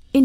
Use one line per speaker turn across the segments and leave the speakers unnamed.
verscheen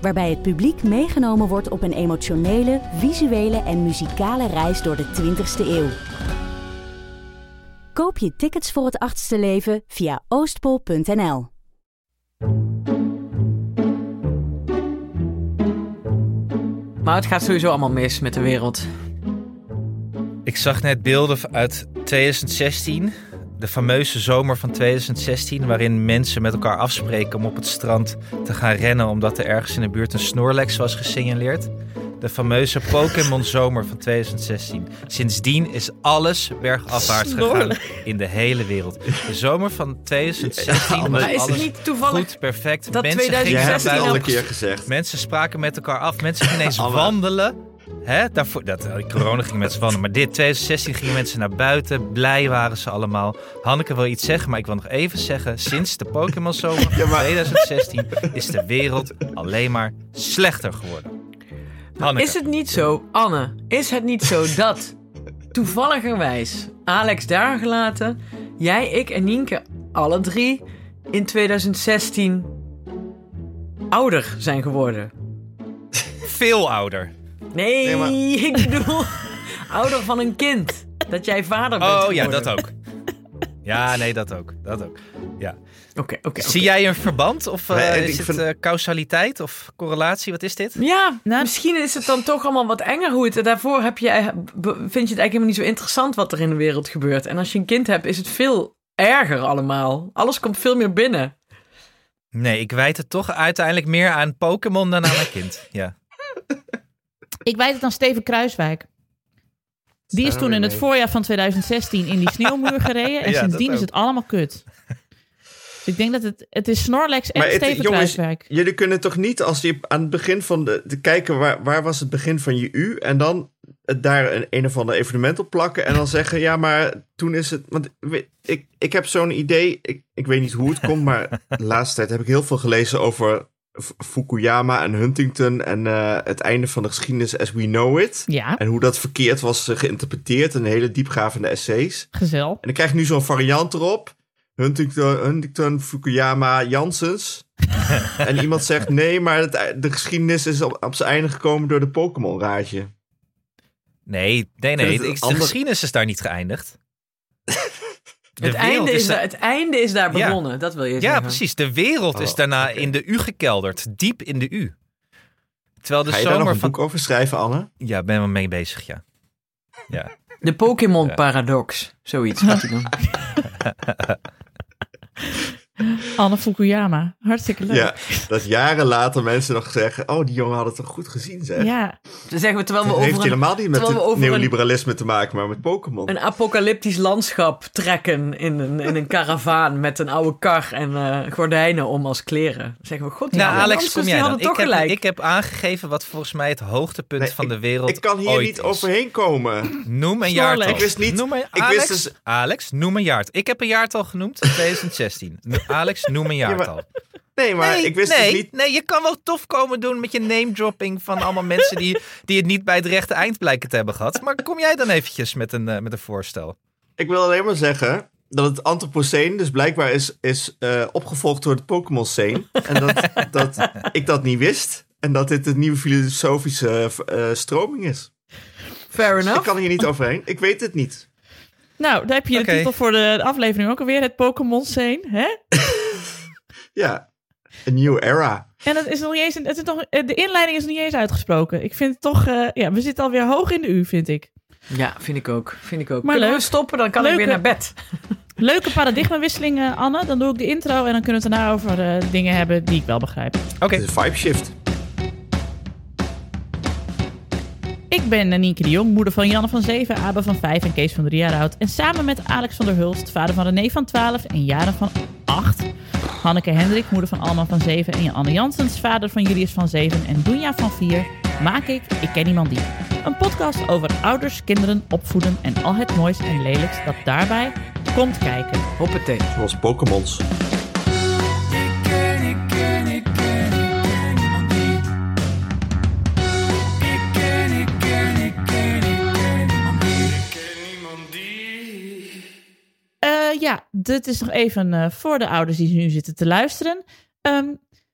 Waarbij het publiek meegenomen wordt op een emotionele, visuele en muzikale reis door de 20ste eeuw. Koop je tickets voor het achtste leven via oostpol.nl.
Maar het gaat sowieso allemaal mis met de wereld.
Ik zag net beelden uit 2016. De fameuze zomer van 2016, waarin mensen met elkaar afspreken om op het strand te gaan rennen omdat er ergens in de buurt een Snorlax was gesignaleerd. De fameuze Pokémon zomer van 2016. Sindsdien is alles bergafwaarts gegaan in de hele wereld. De zomer van 2016
Ja,
was
maar Nou, is het
alles
niet toevallig
goed, perfect.
dat
mensen gingen
2016
naar
al
buiten.
een
keer gezegd.
Mensen spraken met elkaar af. Mensen gingen ineens
Allemaal.
wandelen. Hè? Daarvoor, dat, eh, corona ging mensen wandelen. Maar dit, 2016 gingen mensen naar buiten. Blij waren ze allemaal. Hanneke wil iets zeggen, maar ik wil nog even zeggen... sinds de Pokémon Zomer van
Ja, maar-
2016 is de wereld alleen maar slechter geworden. Hanneke,
Is het niet zo, Anne, is het niet zo dat toevalligerwijs Alex daar gelaten, jij, ik en Nienke alle drie in 2016 ouder zijn geworden?
veel ouder.
Nee,
Nee, maar-
ik bedoel ouder van een kind. Dat jij vader bent
Oh ja,
geworden.
dat ook. Ja, nee, dat ook. Dat ook. Ja.
Oké, oké. oké.
Zie jij een verband? Of eh,
Nee, ik
is het
vind-
eh, causaliteit of correlatie? Wat is dit?
Ja, misschien is het dan toch allemaal wat enger hoe het... Daarvoor heb je, be- vind je het eigenlijk helemaal niet zo interessant wat er in de wereld gebeurt. En als je een kind hebt, is het veel erger allemaal. Alles komt veel meer binnen.
Nee, ik wijd het toch uiteindelijk meer aan Pokémon dan aan mijn kind. Ja.
Ik wijd het aan Steven Kruiswijk. Die is
Daar
toen
weer
in het
mee.
voorjaar van 2016 in die sneeuwmuur gereden. En
Ja, dat
sindsdien is
ook.
het allemaal kut. Dus ik denk dat het, het is Snorlax en
Maar het-
Steven
jongens,
Kruiswijk.
jullie kunnen toch niet als je aan het begin van de, te kijken waar, waar was het begin van je U en dan het daar een, een of ander evenement op plakken en dan zeggen ja, maar toen is het. Want we- ik, ik heb zo'n idee, ik, ik weet niet hoe het komt, maar de laatste tijd heb ik heel veel gelezen over F- Fukuyama en Huntington en eh, het einde van de geschiedenis as we know it.
Ja,
En hoe dat verkeerd was eh, geïnterpreteerd en hele diepgravende essays.
gezel.
En dan krijg je nu zo'n variant erop. Huntington, Huntington Fukuyama, Janssens. en iemand zegt, nee, maar het- de geschiedenis is op, op zijn einde gekomen door de Pokémon-raadje.
Nee, nee,
vind
nee.
het
De,
een
de
ander-
geschiedenis is daar niet geëindigd. De
Het
wereld
einde is,
da-
daar, het einde is daar
Ja.
begonnen, dat wil je zeggen.
Ja, precies. De wereld is
Oh,
daarna
oké.
in de U gekelderd. Diep in de U. Terwijl de
Ga je daar nog
zomer
een
van...
boek over schrijven, Anne?
Ja, ben wel mee bezig, ja. Ja.
De Pokémon-paradox, zoiets gaat hij doen.
Anne Fukuyama. Hartstikke leuk.
Ja, dat jaren later mensen nog zeggen, oh, die jongen had het toch goed gezien, zeg.
Ja.
Dan zeggen we terwijl we
Het heeft
over een,
helemaal niet met
terwijl we
het
over een-
neoliberalisme te maken, maar met Pokémon.
een apocalyptisch landschap trekken in een, in een karavaan met een oude kar en eh, gordijnen om als kleren. Dan zeggen we, god, die
Nou,
oude
Alex,
Amsters,
kom
die
jij dan.
hadden
Ik
toch
heb,
gelijk.
ik heb aangegeven wat volgens mij het hoogtepunt
Nee,
van de wereld
Ik kan hier
ooit
niet
is.
overheen komen.
Noem een
Snorlax.
jaartal.
Ik
wist niet-
Noem een,
wist
Alex,
dus-
Alex, noem een jaartal. Ik heb een jaartal genoemd. 2016. No- Alex, noem een
maar-
jaartal.
Nee, maar ik wist
nee,
dus niet...
Nee, je kan wel tof komen doen met je name-dropping van allemaal mensen die, die het niet bij het rechte eind blijken te hebben gehad. Maar kom jij dan eventjes met een, eh, met een voorstel?
Ik wil alleen maar zeggen dat het Anthropocene dus blijkbaar is, is eh, opgevolgd door het Pokémon-scene. En dat, dat ik dat niet wist. En dat dit een nieuwe filosofische eh, stroming is.
Fair enough.
Ik kan hier niet overheen. Ik weet het niet.
Nou, daar heb je
Oké.
de titel voor de aflevering ook alweer. Het Pokémon Scene. Hè?
Ja, een new era.
En het is nog niet eens, het is nog, eh, de inleiding is nog niet eens uitgesproken. Ik vind het toch... eh, ja, we zitten alweer hoog in de U, vind ik.
Ja, vind ik ook. Vind ik ook.
Maar
Kunnen
leuk.
we stoppen, dan kan ik
Leuke-
weer naar bed.
Leuke paradigmawisseling, eh, Anne. Dan doe ik de intro en dan kunnen we het daarna over eh, dingen hebben die ik wel begrijp.
Oké,
Het is een vibe shift.
Ik ben eh, Nienke de Jong, moeder van Janne van 7, Abe van 5 en Kees van 3 jaar oud. En samen met Alex van der Hulst, vader van René van 12 en Jaren van 8. Hanneke Hendrik, moeder van Alma van 7 en Anne Jansens, vader van Julius van 7 en Doenja van 4. maak ik Ik Ken Iemand Die. Een podcast over ouders, kinderen, opvoeden en al het moois en lelijks dat daarbij komt kijken.
Hoppatee.
Zoals Pokémons.
Eh, ja, dit is nog even eh, voor de ouders die nu zitten te luisteren. Ehm,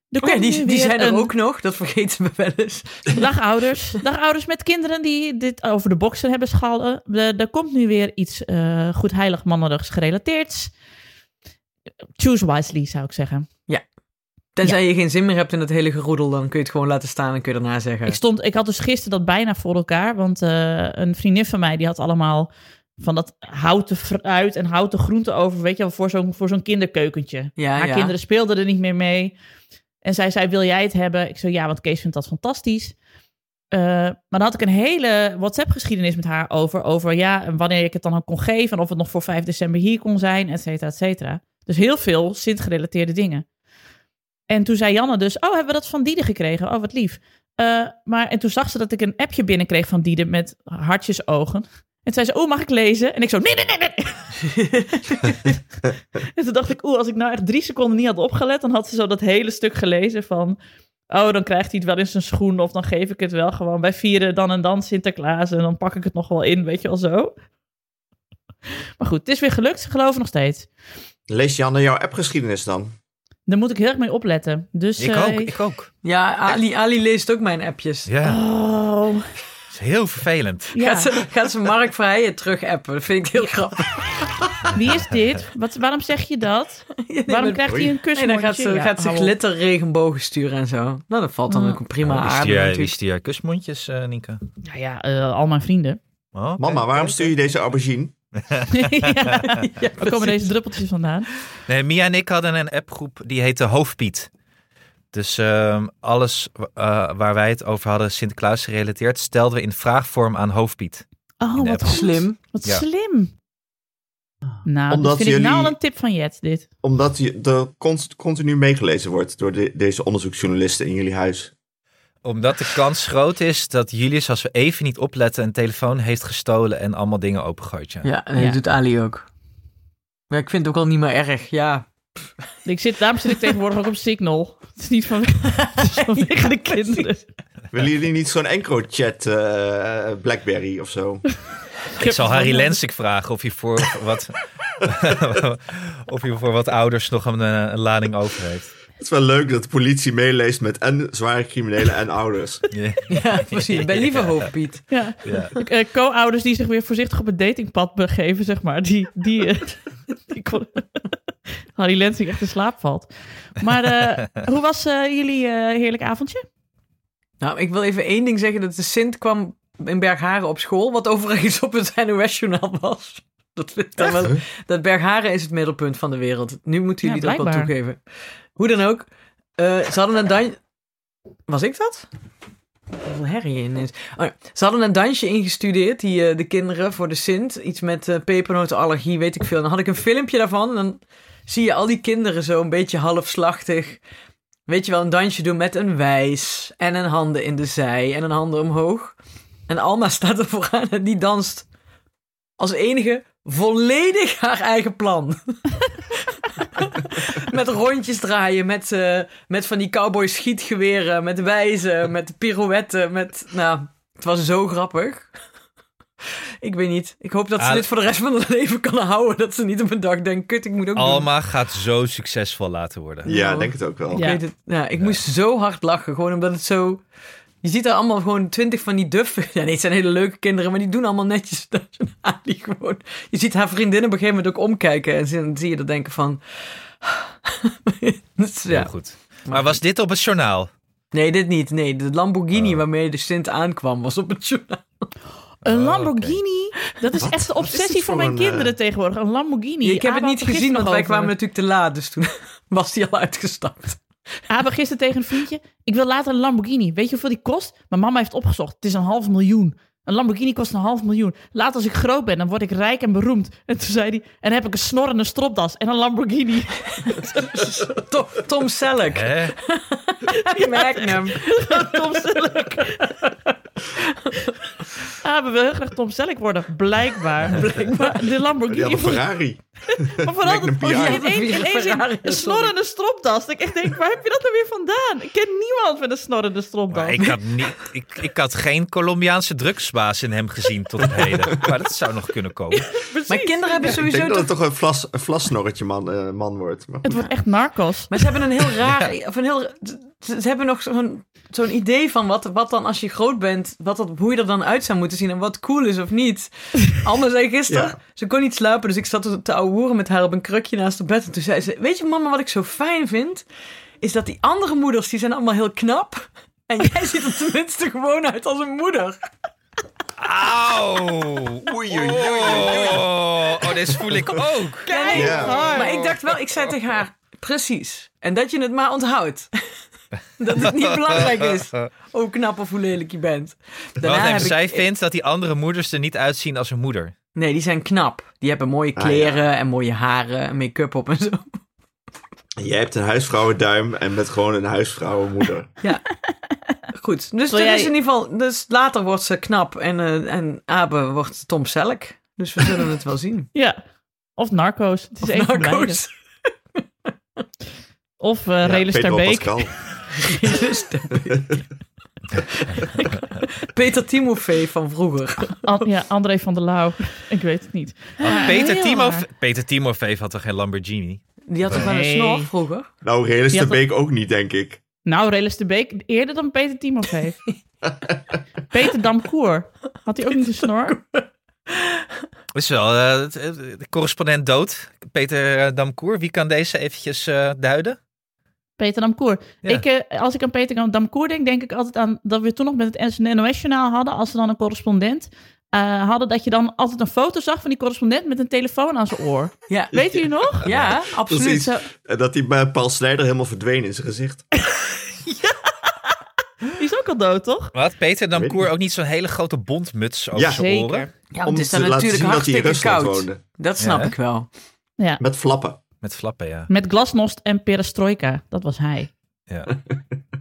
er
Oké,
komt
die,
nu
die
weer
zijn er
een-
ook nog. Dat vergeten we wel eens.
Dag ouders. Dag ouders met kinderen die dit over de boksen hebben schallen. Eh, Er komt nu weer iets eh goed heilig mannerigs gerelateerds. Choose wisely, zou ik zeggen.
Tenzij je geen zin meer hebt in dat hele geroedel, dan kun je het gewoon laten staan en kun je daarna zeggen.
Ik, stond, ik had dus gisteren dat bijna voor elkaar. Want eh, een vriendin van mij die had allemaal van dat houten fruit en houten groenten over. Weet je wel, voor zo'n voor zo'n kinderkeukentje.
ja,
Haar
ja.
kinderen speelden er niet meer mee. En zij zei, wil jij het hebben? Ik zei, ja, want Kees vindt dat fantastisch. Eh, maar dan had ik een hele WhatsApp-geschiedenis met haar over. Over ja, en wanneer ik het dan ook kon geven. En of het nog voor 5 december hier kon zijn, et cetera, et cetera. Dus heel veel Sint-gerelateerde dingen. En toen zei Janne dus, oh, hebben we dat van Diede gekregen? Oh, wat lief. Eh, maar, en toen zag ze dat ik een appje binnenkreeg van Diede met hartjesogen. En toen zei ze, oh, mag ik lezen? En ik zo, nee, nee, nee, nee. En toen dacht ik, oeh, als ik nou echt drie seconden niet had opgelet, dan had ze zo dat hele stuk gelezen van. Oh, dan krijgt hij het wel in zijn schoen. Of dan geef ik het wel gewoon. Wij vieren dan en dan Sinterklaas. En dan pak ik het nog wel in, weet je wel zo. Maar goed, het is weer gelukt. Ze geloven nog steeds.
Lees Janne jouw appgeschiedenis dan?
Daar moet ik heel erg mee opletten. Dus,
Ik
eh,
ook, ik ook.
Ja, Ali, Ali leest ook mijn appjes.
Ja,
Oh,
dat is heel vervelend.
ja.
Gaat, ze, gaat ze Mark Vrijen terug appen? Dat vind ik heel grappig.
Wie is dit? Wat, waarom zeg je dat?
Nee,
Waarom
maar-
krijgt hij een kus?
Nee, dan gaat ze, gaat ze glitterregenbogen sturen en zo. Nou, dat valt dan
Ah.
ook een prima
Wie
aarde
stuur jij- Wie
natuurlijk.
stuur jij kusmondjes, eh Nienke?
Nou ja, eh, al mijn vrienden.
Oh, oké.
Mama, waarom stuur je deze aubergine?
ja.
Ja,
Waar komen
precies.
deze druppeltjes vandaan?
Nee, Mia en ik hadden een appgroep die heette Hoofdpiet. Dus ehm, alles eh, waar wij het over hadden, Sinterklaas gerelateerd, stelden we in vraagvorm aan Hoofdpiet.
Oh,
In de
wat
app.
goed.
Slim.
Wat
Ja.
slim. Nou, dat
Omdat
vind ik nou
jullie-
al een tip van Jet, dit.
Omdat je er const- continu meegelezen wordt door de- deze onderzoeksjournalisten in jullie huis.
Omdat de kans groot is dat Julius, als we even niet opletten, een telefoon heeft gestolen en allemaal dingen opengegooid. Ja.
Ja, nee, dat
Ja.
doet Ali ook. Maar ik vind het ook al niet meer erg, ja.
Ik zit, daarom zit ik tegenwoordig ook op Signal. Het is niet van, het is vanwege de kinderen.
Willen jullie niet zo'n Encrochat eh, Blackberry of zo?
Ik zal Harry Lensik vragen of hij voor wat, of hij voor wat ouders nog een, eh, een lading over heeft.
Het is wel leuk dat de politie meeleest met en zware criminelen en ouders.
Ja.
Ja, precies. Ik ben liever hoofdpiet.
Ja.
Ja.
Eh, Co-ouders die zich weer voorzichtig op het datingpad begeven, zeg maar. Die, die, eh, die kon- Harry Lensing echt in slaap valt. Maar eh, hoe was eh, jullie eh, heerlijk avondje?
Nou, ik wil even één ding zeggen. Dat de Sint kwam in Bergharen op school. Wat overigens op het NOS-journaal was. Dat, vind ik dan wel, dat Bergharen is het middelpunt van de wereld. Nu moeten
Ja,
jullie dat wel
blijkbaar.
toegeven. Hoe dan ook. eh, ze hadden een dan. Was ik dat? Hoeveel herrie ineens. Oh, ja. ze hadden een dansje ingestudeerd, die, eh, de kinderen, voor de Sint. Iets met eh pepernotenallergie, weet ik veel. Dan had ik een filmpje daarvan. En dan zie je al die kinderen zo een beetje halfslachtig. Weet je wel, een dansje doen met een wijs. En een handen in de zij. En een handen omhoog. En Alma staat er vooraan en die danst als enige volledig haar eigen plan. met rondjes draaien, met, eh, met van die cowboy schietgeweren, met wijzen, met pirouetten, met... Nou, het was zo grappig. Ik weet niet. Ik hoop dat ze
Ah,
dit voor de rest van haar leven kan houden. Dat ze niet op een dag denkt, kut, ik moet ook doen.
Alma gaat zo succesvol laten worden.
Ja, denk het ook wel.
Ik,
Ja.
weet het, ja, ik moest zo hard lachen, gewoon omdat het zo... Je ziet daar allemaal gewoon twintig van die duffe... Ja, nee, het zijn hele leuke kinderen, maar die doen allemaal netjes. Die gewoon, je ziet haar vriendin op een gegeven moment ook omkijken. En zie- dan zie je dat denken van... Dus
Heel
ja.
goed. Maar was dit op het journaal?
Nee, dit niet. Nee, de Lamborghini
Oh.
waarmee de Sint aankwam was op het journaal.
Een
Oh,
Lamborghini? Dat is echt de
Wat is dit
obsessie
voor
van mijn
een, eh,
kinderen tegenwoordig. Een Lamborghini.
ik heb het
Abe
niet
had er
gezien, want
gisteren
wij
nog
kwamen
over.
natuurlijk te laat. Dus toen was hij al uitgestapt.
Abe gisteren tegen een vriendje. Ik wil later een Lamborghini. Weet je hoeveel die kost? Mijn mama heeft opgezocht. Het is een half miljoen. Een Lamborghini kost een half miljoen. Laat als ik groot ben, dan word ik rijk en beroemd. En toen zei hij, en dan heb ik een snorrende stropdas en een Lamborghini.
Tom, Tom Selleck,
Hè?
Magnum.
Tom Selleck. ah, we willen heel graag Tom Selleck worden. Blijkbaar. Blijkbaar. De
Die had
Lamborghini.
een Ferrari.
Maar vooral dat
Magnum
oh,
PI.
in één- in één
Ferrari,
zin een snorrende stropdas. Dat Ik echt denk, waar heb je dat nou weer vandaan? Ik ken niemand met een snorrende stropdas.
Maar ik, had niet, ik, ik had geen Colombiaanse drugsbaas in hem gezien tot op heden. Maar dat zou nog kunnen komen.
Precies.
Maar kinderen hebben
Ik
sowieso
denk dat
toch
het toch een, flas, een flassnorretje man, eh, man wordt. Maar
Het wordt echt narcos.
Maar ze hebben een heel raar. Of een heel, ze- ze hebben nog zo'n zo'n idee van wat, wat dan als je groot bent, wat dat, hoe je er dan uit zou moeten zien en wat cool is of niet. Alma zei gisteren,
Ja.
ze kon niet slapen, dus ik zat te ouwehoeren met haar op een krukje naast haar bed. En toen zei ze, weet je mama wat ik zo fijn vind? Is dat die andere moeders, die zijn allemaal heel knap. En jij ziet er tenminste gewoon uit als een moeder.
Auw!
Oei, oei, oei.
Oh, oh, dit voel ik ook.
Kijk,
Ja.
Ah,
Maar ik dacht wel, ik zei tegen haar, precies. En dat je het maar onthoudt. dat het niet belangrijk is hoe knap of hoe lelijk je bent. Daarna
Wacht
heb
even,
ik-
zij vindt dat die andere moeders er niet uitzien als een moeder.
Nee, die zijn knap. Die hebben mooie
Ah,
kleren en mooie haren en make-up op en zo.
Jij hebt een huisvrouwenduim en met gewoon een huisvrouwenmoeder.
Ja. Goed. Dus
Wil
dat
jij-
is in ieder geval... Dus later wordt ze knap en, eh, en Abe wordt Tom Selleck. Dus we zullen het wel zien.
Ja. Of narcos. Het is één
Nou,
van beide.
Narcos.
Of eh
Ja,
Relus ter
Pedro
Beek.
Pascal.
Dus dat weet ik. Peter Timofey van vroeger.
An- ja, André van der Lauw. Ik weet het niet.
Want Peter,
heel
Timof
raar.
Peter Timofeef had toch geen Lamborghini?
Die had toch wel
Nee.
een snor vroeger?
Nou, Relus
Die
ter
had
Beek ook niet, denk ik.
Nou, Relus de Beek eerder dan Peter Timofey. Peter Damkoer. Had hij ook niet een snor?
Dat is wel eh, het- eh, de correspondent dood, Peter eh, Damkoer. Wie kan deze eventjes eh, duiden?
Peter Damkoer.
Ja.
Ik, eh, als ik aan Peter Damkoer denk, denk ik altijd aan dat we toen nog met het NOS-journaal hadden. Als we dan een correspondent eh, hadden, dat je dan altijd een foto zag van die correspondent met een telefoon aan zijn oor.
Ja,
Weet je nog?
ja absoluut.
Precies.
Zo,
En dat die bij Paul Snijder helemaal verdween in zijn gezicht.
die is ook al dood, toch?
Maar had Peter
Weet
Damkoer
ik.
ook niet zo'n hele grote bontmuts over
Ja.
zijn
Zeker.
oren?
Ja,
Om
want het is
te
dan
laten
natuurlijk
zien dat hij in
hartstikke
Rusland
koud.
woonde.
Dat snap
Ja.
ik wel.
Ja.
Met flappen.
Met flappen, ja.
Met glasnost en perestroika. Dat was hij.
ja.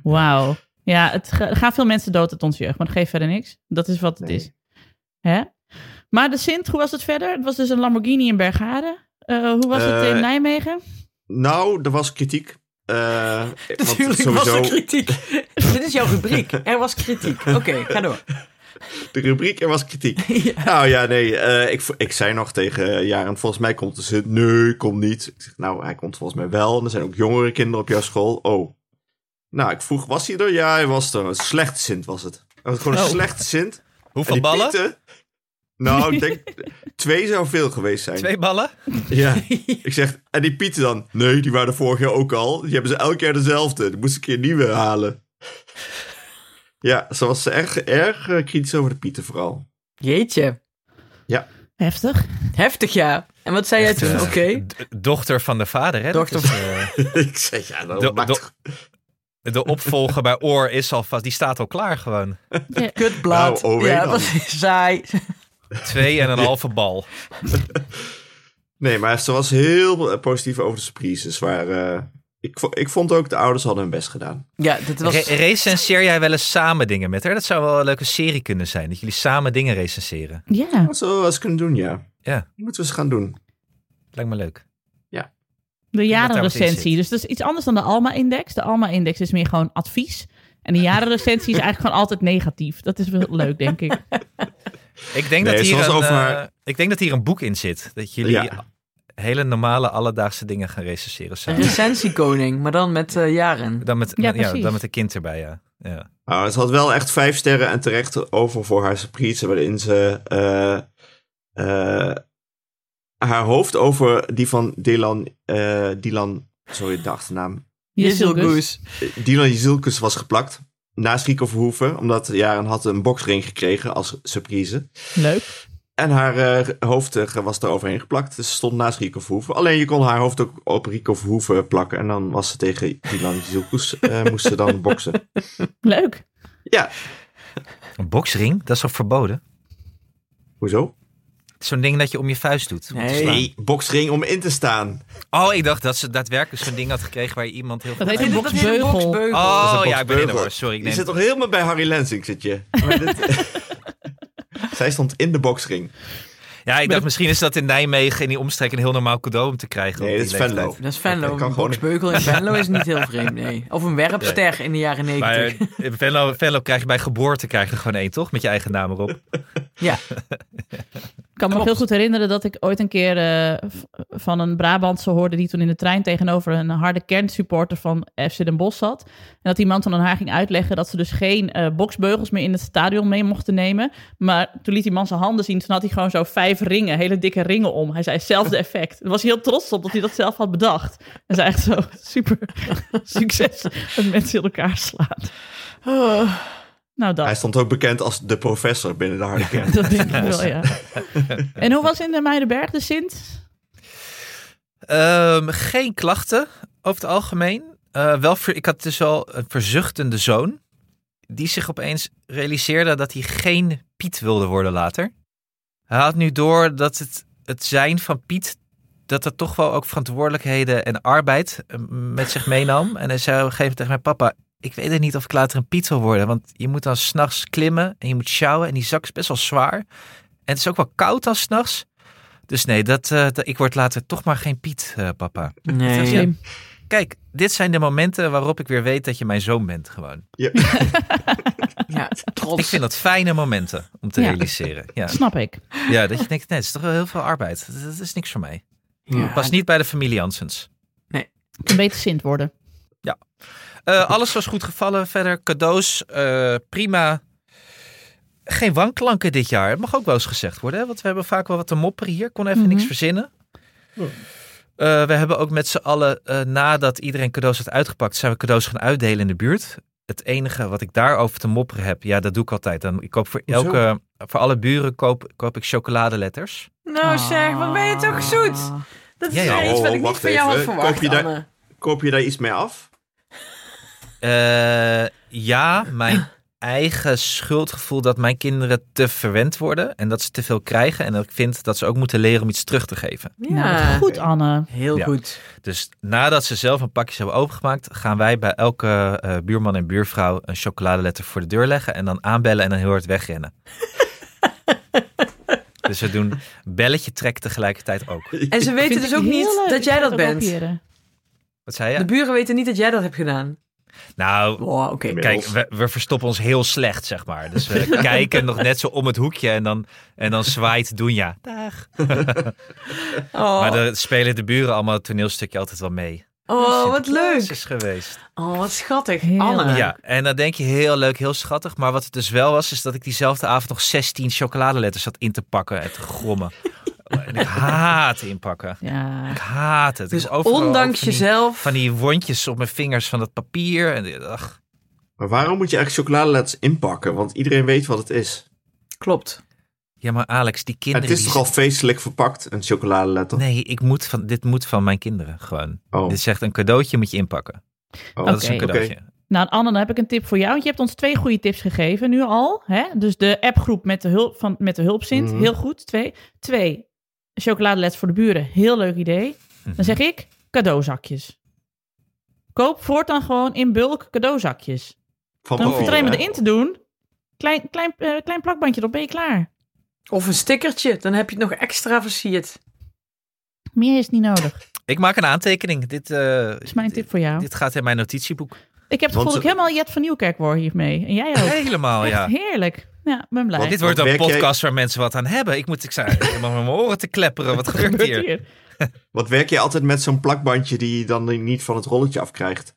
Wauw. Ja, het ga- er gaan veel mensen dood uit onze jeugd, maar dat geeft verder niks. Dat is wat het
Nee.
is. Hè? Maar de Sint, hoe was het verder? Het was dus een Lamborghini in Bergharen. Eh, hoe was het in
Eh,
Nijmegen?
Nou, er was kritiek. Eh, want
Natuurlijk was er kritiek. Dit is jouw rubriek. Er was kritiek. Oké, ga door.
De rubriek, er was kritiek. Nou ja, nee, eh, ik, vo- ik zei nog tegen eh, Jaren, volgens mij komt de Sint. Nee, komt niet. Ik zeg, nou, hij komt volgens mij wel. En er zijn ook jongere kinderen op jouw school. Oh. Nou, ik vroeg, was hij er? Ja, hij was er. Een slechte Sint was het. Het was gewoon een
Oh.
slechte Sint. En
Hoeveel
die
ballen?
pieten- nou, ik denk, twee zou veel geweest zijn.
Twee ballen?
Ja. Ik zeg, en die pieten dan? Nee, die waren vorig jaar ook al. Die hebben ze elk jaar dezelfde. Die moest ik een keer nieuwe halen. Ja, ze was erg, erg eh, kritisch over de pieten vooral.
Jeetje.
Heftig.
Heftig, ja. En wat zei jij
Echt,
toen?
eh,
Oké.
d- Dochter van de vader, hè? Dat
Dochter
is, eh,
ik zeg, ja,
Do-
dat maakt
do- de opvolger bij Oor is al vast. Die staat al klaar gewoon.
Kutblad.
Nou, oh,
ja,
dan.
dat is saai.
Twee en een halve bal.
Nee, maar ze was heel eh, positief over de surprises. Waar, eh, ik, vo- ik vond ook, de ouders hadden hun best gedaan.
Ja, dat was...
Re- recenseer jij wel eens samen dingen met haar? Dat zou wel een leuke serie kunnen zijn. Dat jullie samen dingen recenseren.
Ja.
Dat zouden we wel eens kunnen doen, ja.
Ja.
Die moeten we eens gaan doen.
Lijkt me leuk.
De
daar wat in
jarenrecensie.
zit.
Dus dat is iets anders dan de Alma-index. De Alma-index is meer gewoon advies. En de jarenrecensie is eigenlijk gewoon altijd negatief. Dat is wel leuk, denk ik.
Ik denk,
Nee,
dat hier
zoals
een,
over
eh,
haar-
ik denk dat hier een boek in zit. Dat jullie
Ja.
hele normale alledaagse dingen gaan recenseren
Een
samen.
recensiekoning, maar dan met eh, jaren.
Dan met,
Ja,
met- ja,
precies.
dan met een kind erbij, ja. ja.
Nou, ze had wel echt vijf sterren en terecht over voor haar surprise. Waarin ze eh, eh, haar hoofd over die van Dylan. eh Dylan sorry, de achternaam.
Jisselgus.
Jisselgoes.
Eh, Dylan Jezilkus was geplakt. Naast Rico Verhoeven, omdat Jaren had een boxring gekregen als surprise.
Leuk.
En haar eh, hoofd eh, was daar overheen geplakt. Dus ze stond naast Rico Verhoeven. Alleen je kon haar hoofd ook op Rico Verhoeven plakken. En dan was ze tegen Dylan Jezilkus. eh moest ze dan boksen.
Leuk.
Ja,
Een boksring, dat is toch verboden?
Hoezo?
Zo'n ding dat je om je vuist doet. om te
Nee.
slaan.
Nee, boksring om in te staan.
Oh, ik dacht dat ze daadwerkelijk zo'n ding had gekregen waar je iemand heel
Dat
goed
heet een
uit-
Dat is een
boksbeugel.
boksbeugel.
Dat is
Oh,
een
ja, ik ben in de
boksbeugel.
war. Sorry, ik
Je
neem...
zit toch helemaal bij Harry Lensing, zit je? Maar dit- Zij stond in de boksring.
Ja, ik dacht misschien is dat in Nijmegen in die omstreek een heel normaal cadeau om te krijgen. op
Nee, dat is
die
Venlo.
leeftijd.
Dat is Venlo.
Dat kan
een
gewoon niet.
boksbeugel in Venlo is niet heel vreemd, nee. Of een werpster in de jaren
Maar
negentig.
eh, Venlo, Venlo krijg je bij geboorte krijg je er gewoon één, toch? Met je eigen naam erop.
Ja,
Ik kan me nog
Klopt.
heel goed herinneren dat ik ooit een keer eh, v- van een Brabantse hoorde die toen in de trein tegenover een harde kernsupporter van FC Den Bosch zat. En dat die man toen aan haar ging uitleggen dat ze dus geen eh boksbeugels meer in het stadion mee mochten nemen. Maar toen liet die man zijn handen zien, toen had hij gewoon zo vijf ringen, hele dikke ringen om. Hij zei hetzelfde effect. Daar was hij heel trots op dat hij dat zelf had bedacht. En zei echt zo, super succes dat mensen in elkaar slaan. Nou dat.
Hij stond ook bekend als de professor binnen de harde kern.
Dat denk ik wel, ja. En hoe was in de Meidenberg de Sint?
Ehm, geen klachten over het algemeen. Eh, wel ver- ik had dus al een verzuchtende zoon. Die zich opeens realiseerde dat hij geen Piet wilde worden later. Hij had nu door dat het, het zijn van Piet. dat dat toch wel ook verantwoordelijkheden en arbeid eh, met zich meenam. En hij zei op een gegeven moment tegen mijn papa. Ik weet het niet of ik later een Piet wil worden. Want je moet dan s'nachts klimmen en je moet sjouwen. En die zak is best wel zwaar. En het is ook wel koud dan s'nachts. Dus nee, dat, eh, dat- ik word later toch maar geen Piet, eh, papa.
nee.
Ja. Kijk, dit zijn de momenten waarop ik weer weet dat je mijn zoon bent gewoon.
Ja.
Ja, trots.
Ik vind dat fijne momenten om te
Ja.
realiseren. Ja.
Snap ik.
ja, dat je denkt, nee, het is toch wel heel veel arbeid. Dat, dat is niks voor mij.
Ja.
Pas niet bij de familie Jansens.
Een beter Sint worden.
Eh, alles was goed gevallen verder. Cadeaus, eh, prima. Geen wanklanken dit jaar. Het mag ook wel eens gezegd worden. Hè? Want we hebben vaak wel wat te mopperen hier. Ik kon even
Mhm.
niks verzinnen. Eh, we hebben ook met z'n allen, eh, nadat iedereen cadeaus had uitgepakt, zijn we cadeaus gaan uitdelen in de buurt. Het enige wat ik daarover te mopperen heb, ja, dat doe ik altijd. Dan, ik koop voor,
Hoezo?
elke, voor alle buren koop, koop ik chocoladeletters.
Nou zeg, wat ben je toch zoet? Dat is
Ah. Ja, ja.
weer iets
Oh,
wat ik niet
wacht
van jou had
even.
verwacht,
Koop je daar-
Anne.
Koop je daar iets mee af?
Eh, ja, mijn eigen schuldgevoel dat mijn kinderen te verwend worden en dat ze te veel krijgen. En dat ik vind dat ze ook moeten leren om iets terug te geven.
Ja,
Nou, wat goed Anne.
heel
Ja.
goed.
Dus nadat ze zelf een pakje hebben opengemaakt, gaan wij bij elke eh, buurman en buurvrouw een chocoladeletter voor de deur leggen. En dan aanbellen en dan heel hard wegrennen. dus we doen belletje trek tegelijkertijd ook.
En ze weten
Vind
dus
ik
ook
heel
niet
leuk.
dat
Ik
jij
ga
dat bent.
kopiëren.
Wat zei
De
je?
buren weten niet dat jij dat hebt gedaan.
Nou,
Oh, oké.
Kijk, we, we verstoppen ons heel slecht, zeg maar. Dus we kijken nog net zo om het hoekje en dan, en dan zwaait Doenja. Dag.
Oh,
Maar daar spelen de buren allemaal het toneelstukje altijd wel mee.
oh, wat
Sinterklaas
leuk. Ah.
is geweest.
Oh, wat schattig.
Heel
Anne.
leuk.
Ja, en dan denk je heel leuk, heel schattig. Maar wat het dus wel was, is dat ik diezelfde avond nog 16 chocoladeletters zat in te pakken en te grommen. En ik haat inpakken.
Ja.
Ik haat het. Ik
Dus
was overal ook
ondanks
van die-
jezelf.
Van die wondjes op mijn vingers van dat papier. En, ach,
Maar waarom moet je eigenlijk chocoladeletters inpakken? Want iedereen weet wat het is.
Klopt.
ja, maar Alex, die
En
kinderen.
het is
die
toch al feestelijk verpakt, een chocoladeletter?
Nee, ik moet van, dit moet van mijn kinderen gewoon.
Oh,
Dit zegt een cadeautje moet je inpakken.
oh.
Dat is een
Oké.
cadeautje.
Nou Anne, dan heb ik een tip voor jou. Want je hebt ons twee goede tips gegeven nu al. Hè? Dus de appgroep met de, hulp, van, met de hulpzint.
Mhm.
Heel goed. Twee. Twee. Chocoladelet voor de buren. Heel leuk idee.
Mhm.
Dan zeg ik cadeauzakjes. Koop voortaan gewoon in bulk cadeauzakjes.
Van
Dan hoef je het alleen maar
papier,
erin te doen. Klein, klein, eh, klein plakbandje erop, ben je klaar.
Of een stickertje. Dan heb je het nog extra versierd.
Meer is niet nodig.
Ik maak een aantekening. Dit, eh,
Dat is mijn tip voor jou.
dit gaat in mijn notitieboek.
Ik heb het
Want
gevoel dat ik
ze-
helemaal Jet van Nieuwkerk word hiermee. En jij ook.
Helemaal,
Echt
Oh, ja.
heerlijk. Ja, ben blij.
Want dit wordt
Want
een
werk jij-
podcast waar mensen wat aan hebben. Ik moet, ik sta helemaal met mijn oren te klepperen. Wat gebeurt
Gebeurt
hier?
hier.
hè? Wat werk je altijd met zo'n plakbandje die je dan niet van het rolletje afkrijgt?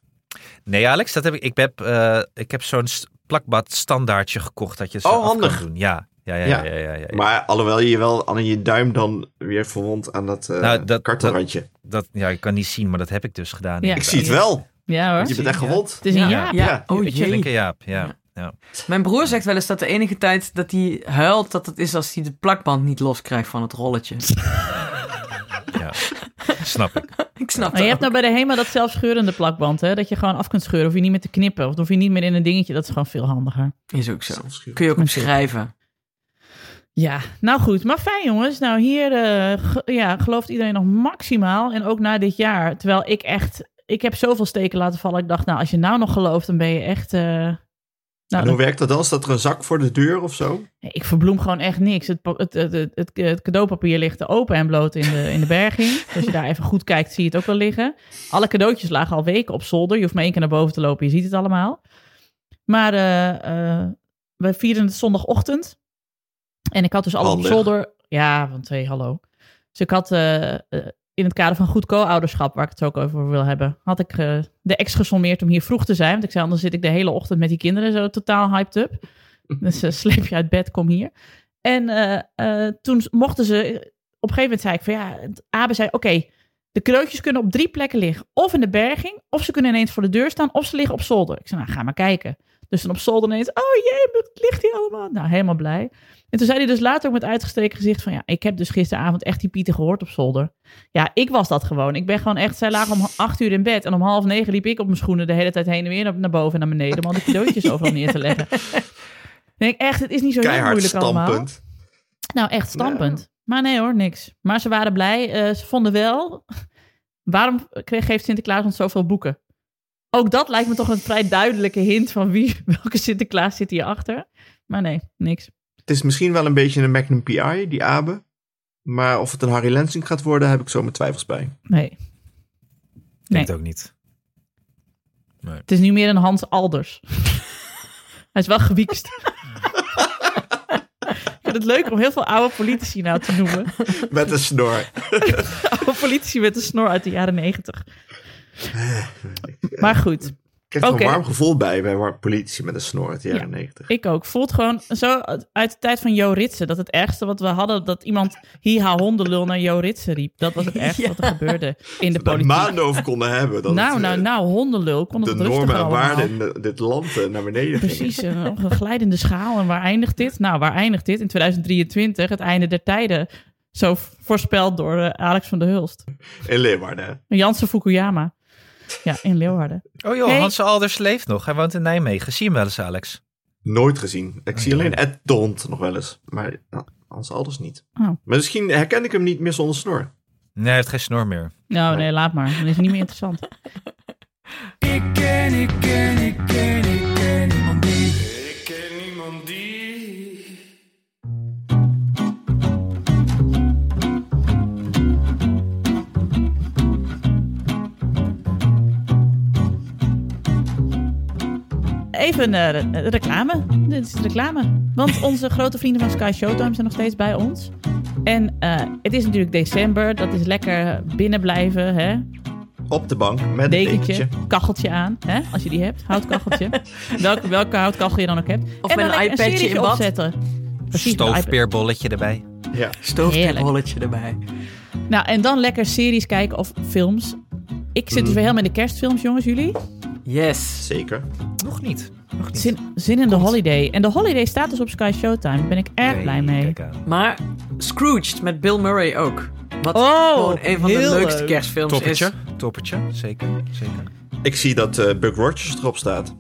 Nee, Alex, dat heb ik. Ik heb, eh, ik heb zo'n st- plakbad standaardje gekocht dat je zo
Oh,
af kan
handig.
doen. Ja, ja, ja, ja,
Ja.
ja, ja, ja.
Maar alhoewel je wel aan je duim dan weer verwond aan dat, eh
Nou, dat-
kartelrandje.
Dat, ja, ik kan niet zien, maar dat heb ik dus gedaan.
Ja.
Ik zie het wel.
Ja hoor.
Je bent echt
Ja.
gewond.
Het is een
Ja.
jaar.
Ja.
Ja.
Oh jee.
Linker Jaap, ja. ja.
Mijn broer zegt wel eens dat de enige tijd dat hij huilt, dat het is als hij de plakband niet loskrijgt van het rolletje.
ja. Snap ik.
Ik snap
Maar
dat.
je hebt nou bij de HEMA dat zelfscheurende plakband, hè? Dat je gewoon af kunt scheuren. Hoef je niet meer te knippen. Of hoef je niet meer in een dingetje. Dat is gewoon veel handiger.
Is ook zo.
Zelfs-
Kun je ook hem schrijven.
Ja, nou goed. Maar fijn jongens. Nou hier eh, ge- ja, gelooft iedereen nog maximaal. En ook na dit jaar. Terwijl ik echt... Ik heb zoveel steken laten vallen. Ik dacht, nou als je nou nog gelooft, dan ben je echt... eh, nou,
En hoe
dan-
werkt dat dan? Staat er een zak voor de deur of zo?
nee, ik verbloem gewoon echt niks. Het, pa- het, het, het, het- het cadeaupapier ligt open en bloot in de, in de berging. Dus als je daar even goed kijkt, zie je het ook wel liggen. Alle cadeautjes lagen al weken op zolder. Je hoeft maar één keer naar boven te lopen. Je ziet het allemaal. Maar eh, eh, we vierden het zondagochtend. En ik had dus alles op
Handig.
zolder. Ja, want hey, hallo. Dus ik had eh, eh, in het kader van goed co-ouderschap, waar ik het ook over wil hebben, had ik eh, de ex gesommeerd om hier vroeg te zijn. Want ik zei, anders zit ik de hele ochtend met die kinderen zo totaal hyped up. Dus eh, sleep je uit bed, kom hier. En eh, eh, toen mochten ze, op een gegeven moment zei ik van ja, het- Abe zei oké, de cadeautjes kunnen op drie plekken liggen. Of in de berging, of ze kunnen ineens voor de deur staan, of ze liggen op zolder. Ik zei nou, ga maar kijken. Dus dan op zolder ineens, oh jee, wat ligt hier allemaal? Nou, helemaal blij. En toen zei hij dus later ook met uitgestreken gezicht van... ja, ik heb dus gisteravond echt die pieten gehoord op zolder. Ja, ik was dat gewoon. Ik ben gewoon echt... zij lagen om acht uur in bed... en om half negen liep ik op mijn schoenen de hele tijd heen en weer... naar- naar boven en naar beneden... om al die cadeautjes overal neer te leggen. Dan denk ik echt, het is niet zo heel
Keihard
moeilijk allemaal.
stampend.
Nou, echt stampend. Maar nee hoor, niks. Maar ze waren blij. Eh, ze vonden wel... Waarom kreeg, geeft Sinterklaas ons zoveel boeken? Ook dat lijkt me toch een vrij duidelijke hint... van wie, welke Sinterklaas zit hierachter. Maar nee, niks.
Het is misschien wel een beetje een Magnum PI, die Abe. Maar of het een Harry Lensing gaat worden, heb ik zo mijn twijfels bij.
Nee.
Ik denk
Nee.
het ook niet.
Het is nu meer een Hans Alders. Hij is wel gewiekst. Ik vind het leuk om heel veel oude politici nou te noemen.
Met een snor.
Oude politici met een snor uit de jaren negentig. Maar goed,
Ik krijg er
Oké.
een warm gevoel bij, bij war- politici met een snor uit de jaren
Ja.
negentig.
ik ook. Voelt gewoon zo uit de tijd van Jo Ritsen... dat het ergste wat we hadden... dat iemand hiha hondenlul naar Jo Ritsen riep. Dat was het ergste wat er gebeurde in de
Daar
politiek.
maanden over konden hebben. Dat
nou,
het, eh,
nou, nou, hondenlul. Kon het
de
wat rustiger
normen en
allemaal.
waarden in de- dit land eh, naar beneden gingen.
Precies, een, een glijdende schaal. En waar eindigt dit? Nou, waar eindigt dit? In 2023, het einde der tijden. Zo v- voorspeld door eh, Alex van der Hulst.
In Leeuwarden.
Jansen Fukuyama. Ja, in Leeuwarden.
Oh joh,
Nee.
Hans Alders leeft nog. Hij woont in Nijmegen. Zie je hem wel eens, Alex?
Nooit gezien.
Oh,
Ik zie alleen Ed de Hond nog wel eens. Maar nou, Hans Alders niet.
Oh.
Maar misschien herken ik hem niet meer zonder snor.
Nee, hij heeft geen snor meer.
Nou, nee, laat maar. Dan is het niet meer interessant. Even eh, re- eh, reclame. Dit is reclame. Want onze grote vrienden van Sky Showtime zijn nog steeds bij ons. En eh, het is natuurlijk december. Dat is lekker binnen blijven. Hè?
Op de bank met een
Dekentje,
dekentje.
kacheltje aan. Hè? Als je die hebt. Houtkacheltje. welke, welke houtkachel je dan ook hebt.
Of
en
met
dan
een
lekker
iPadje
serietje
in bad.
opzetten. Precies, met een iPad.
Stoofpeerbolletje erbij.
Ja.
Stoofpipholletje erbij.
Nou, en dan lekker series kijken of films. Ik
Mm.
zit dus weer helemaal in de kerstfilms, jongens, jullie.
Yes.
Zeker.
Nog niet. Nog niet.
Zin, zin in de holiday. En de holiday staat dus op Sky Showtime. Daar ben ik erg
Nee,
blij mee.
kijk aan.
Maar Scrooged met Bill Murray ook. Wat
Oh,
gewoon een van de
heel
leukste
leuk.
kerstfilms
Toppertje.
is.
Toppertje. Zeker. Zeker.
Ik zie dat eh Buck Rogers erop staat.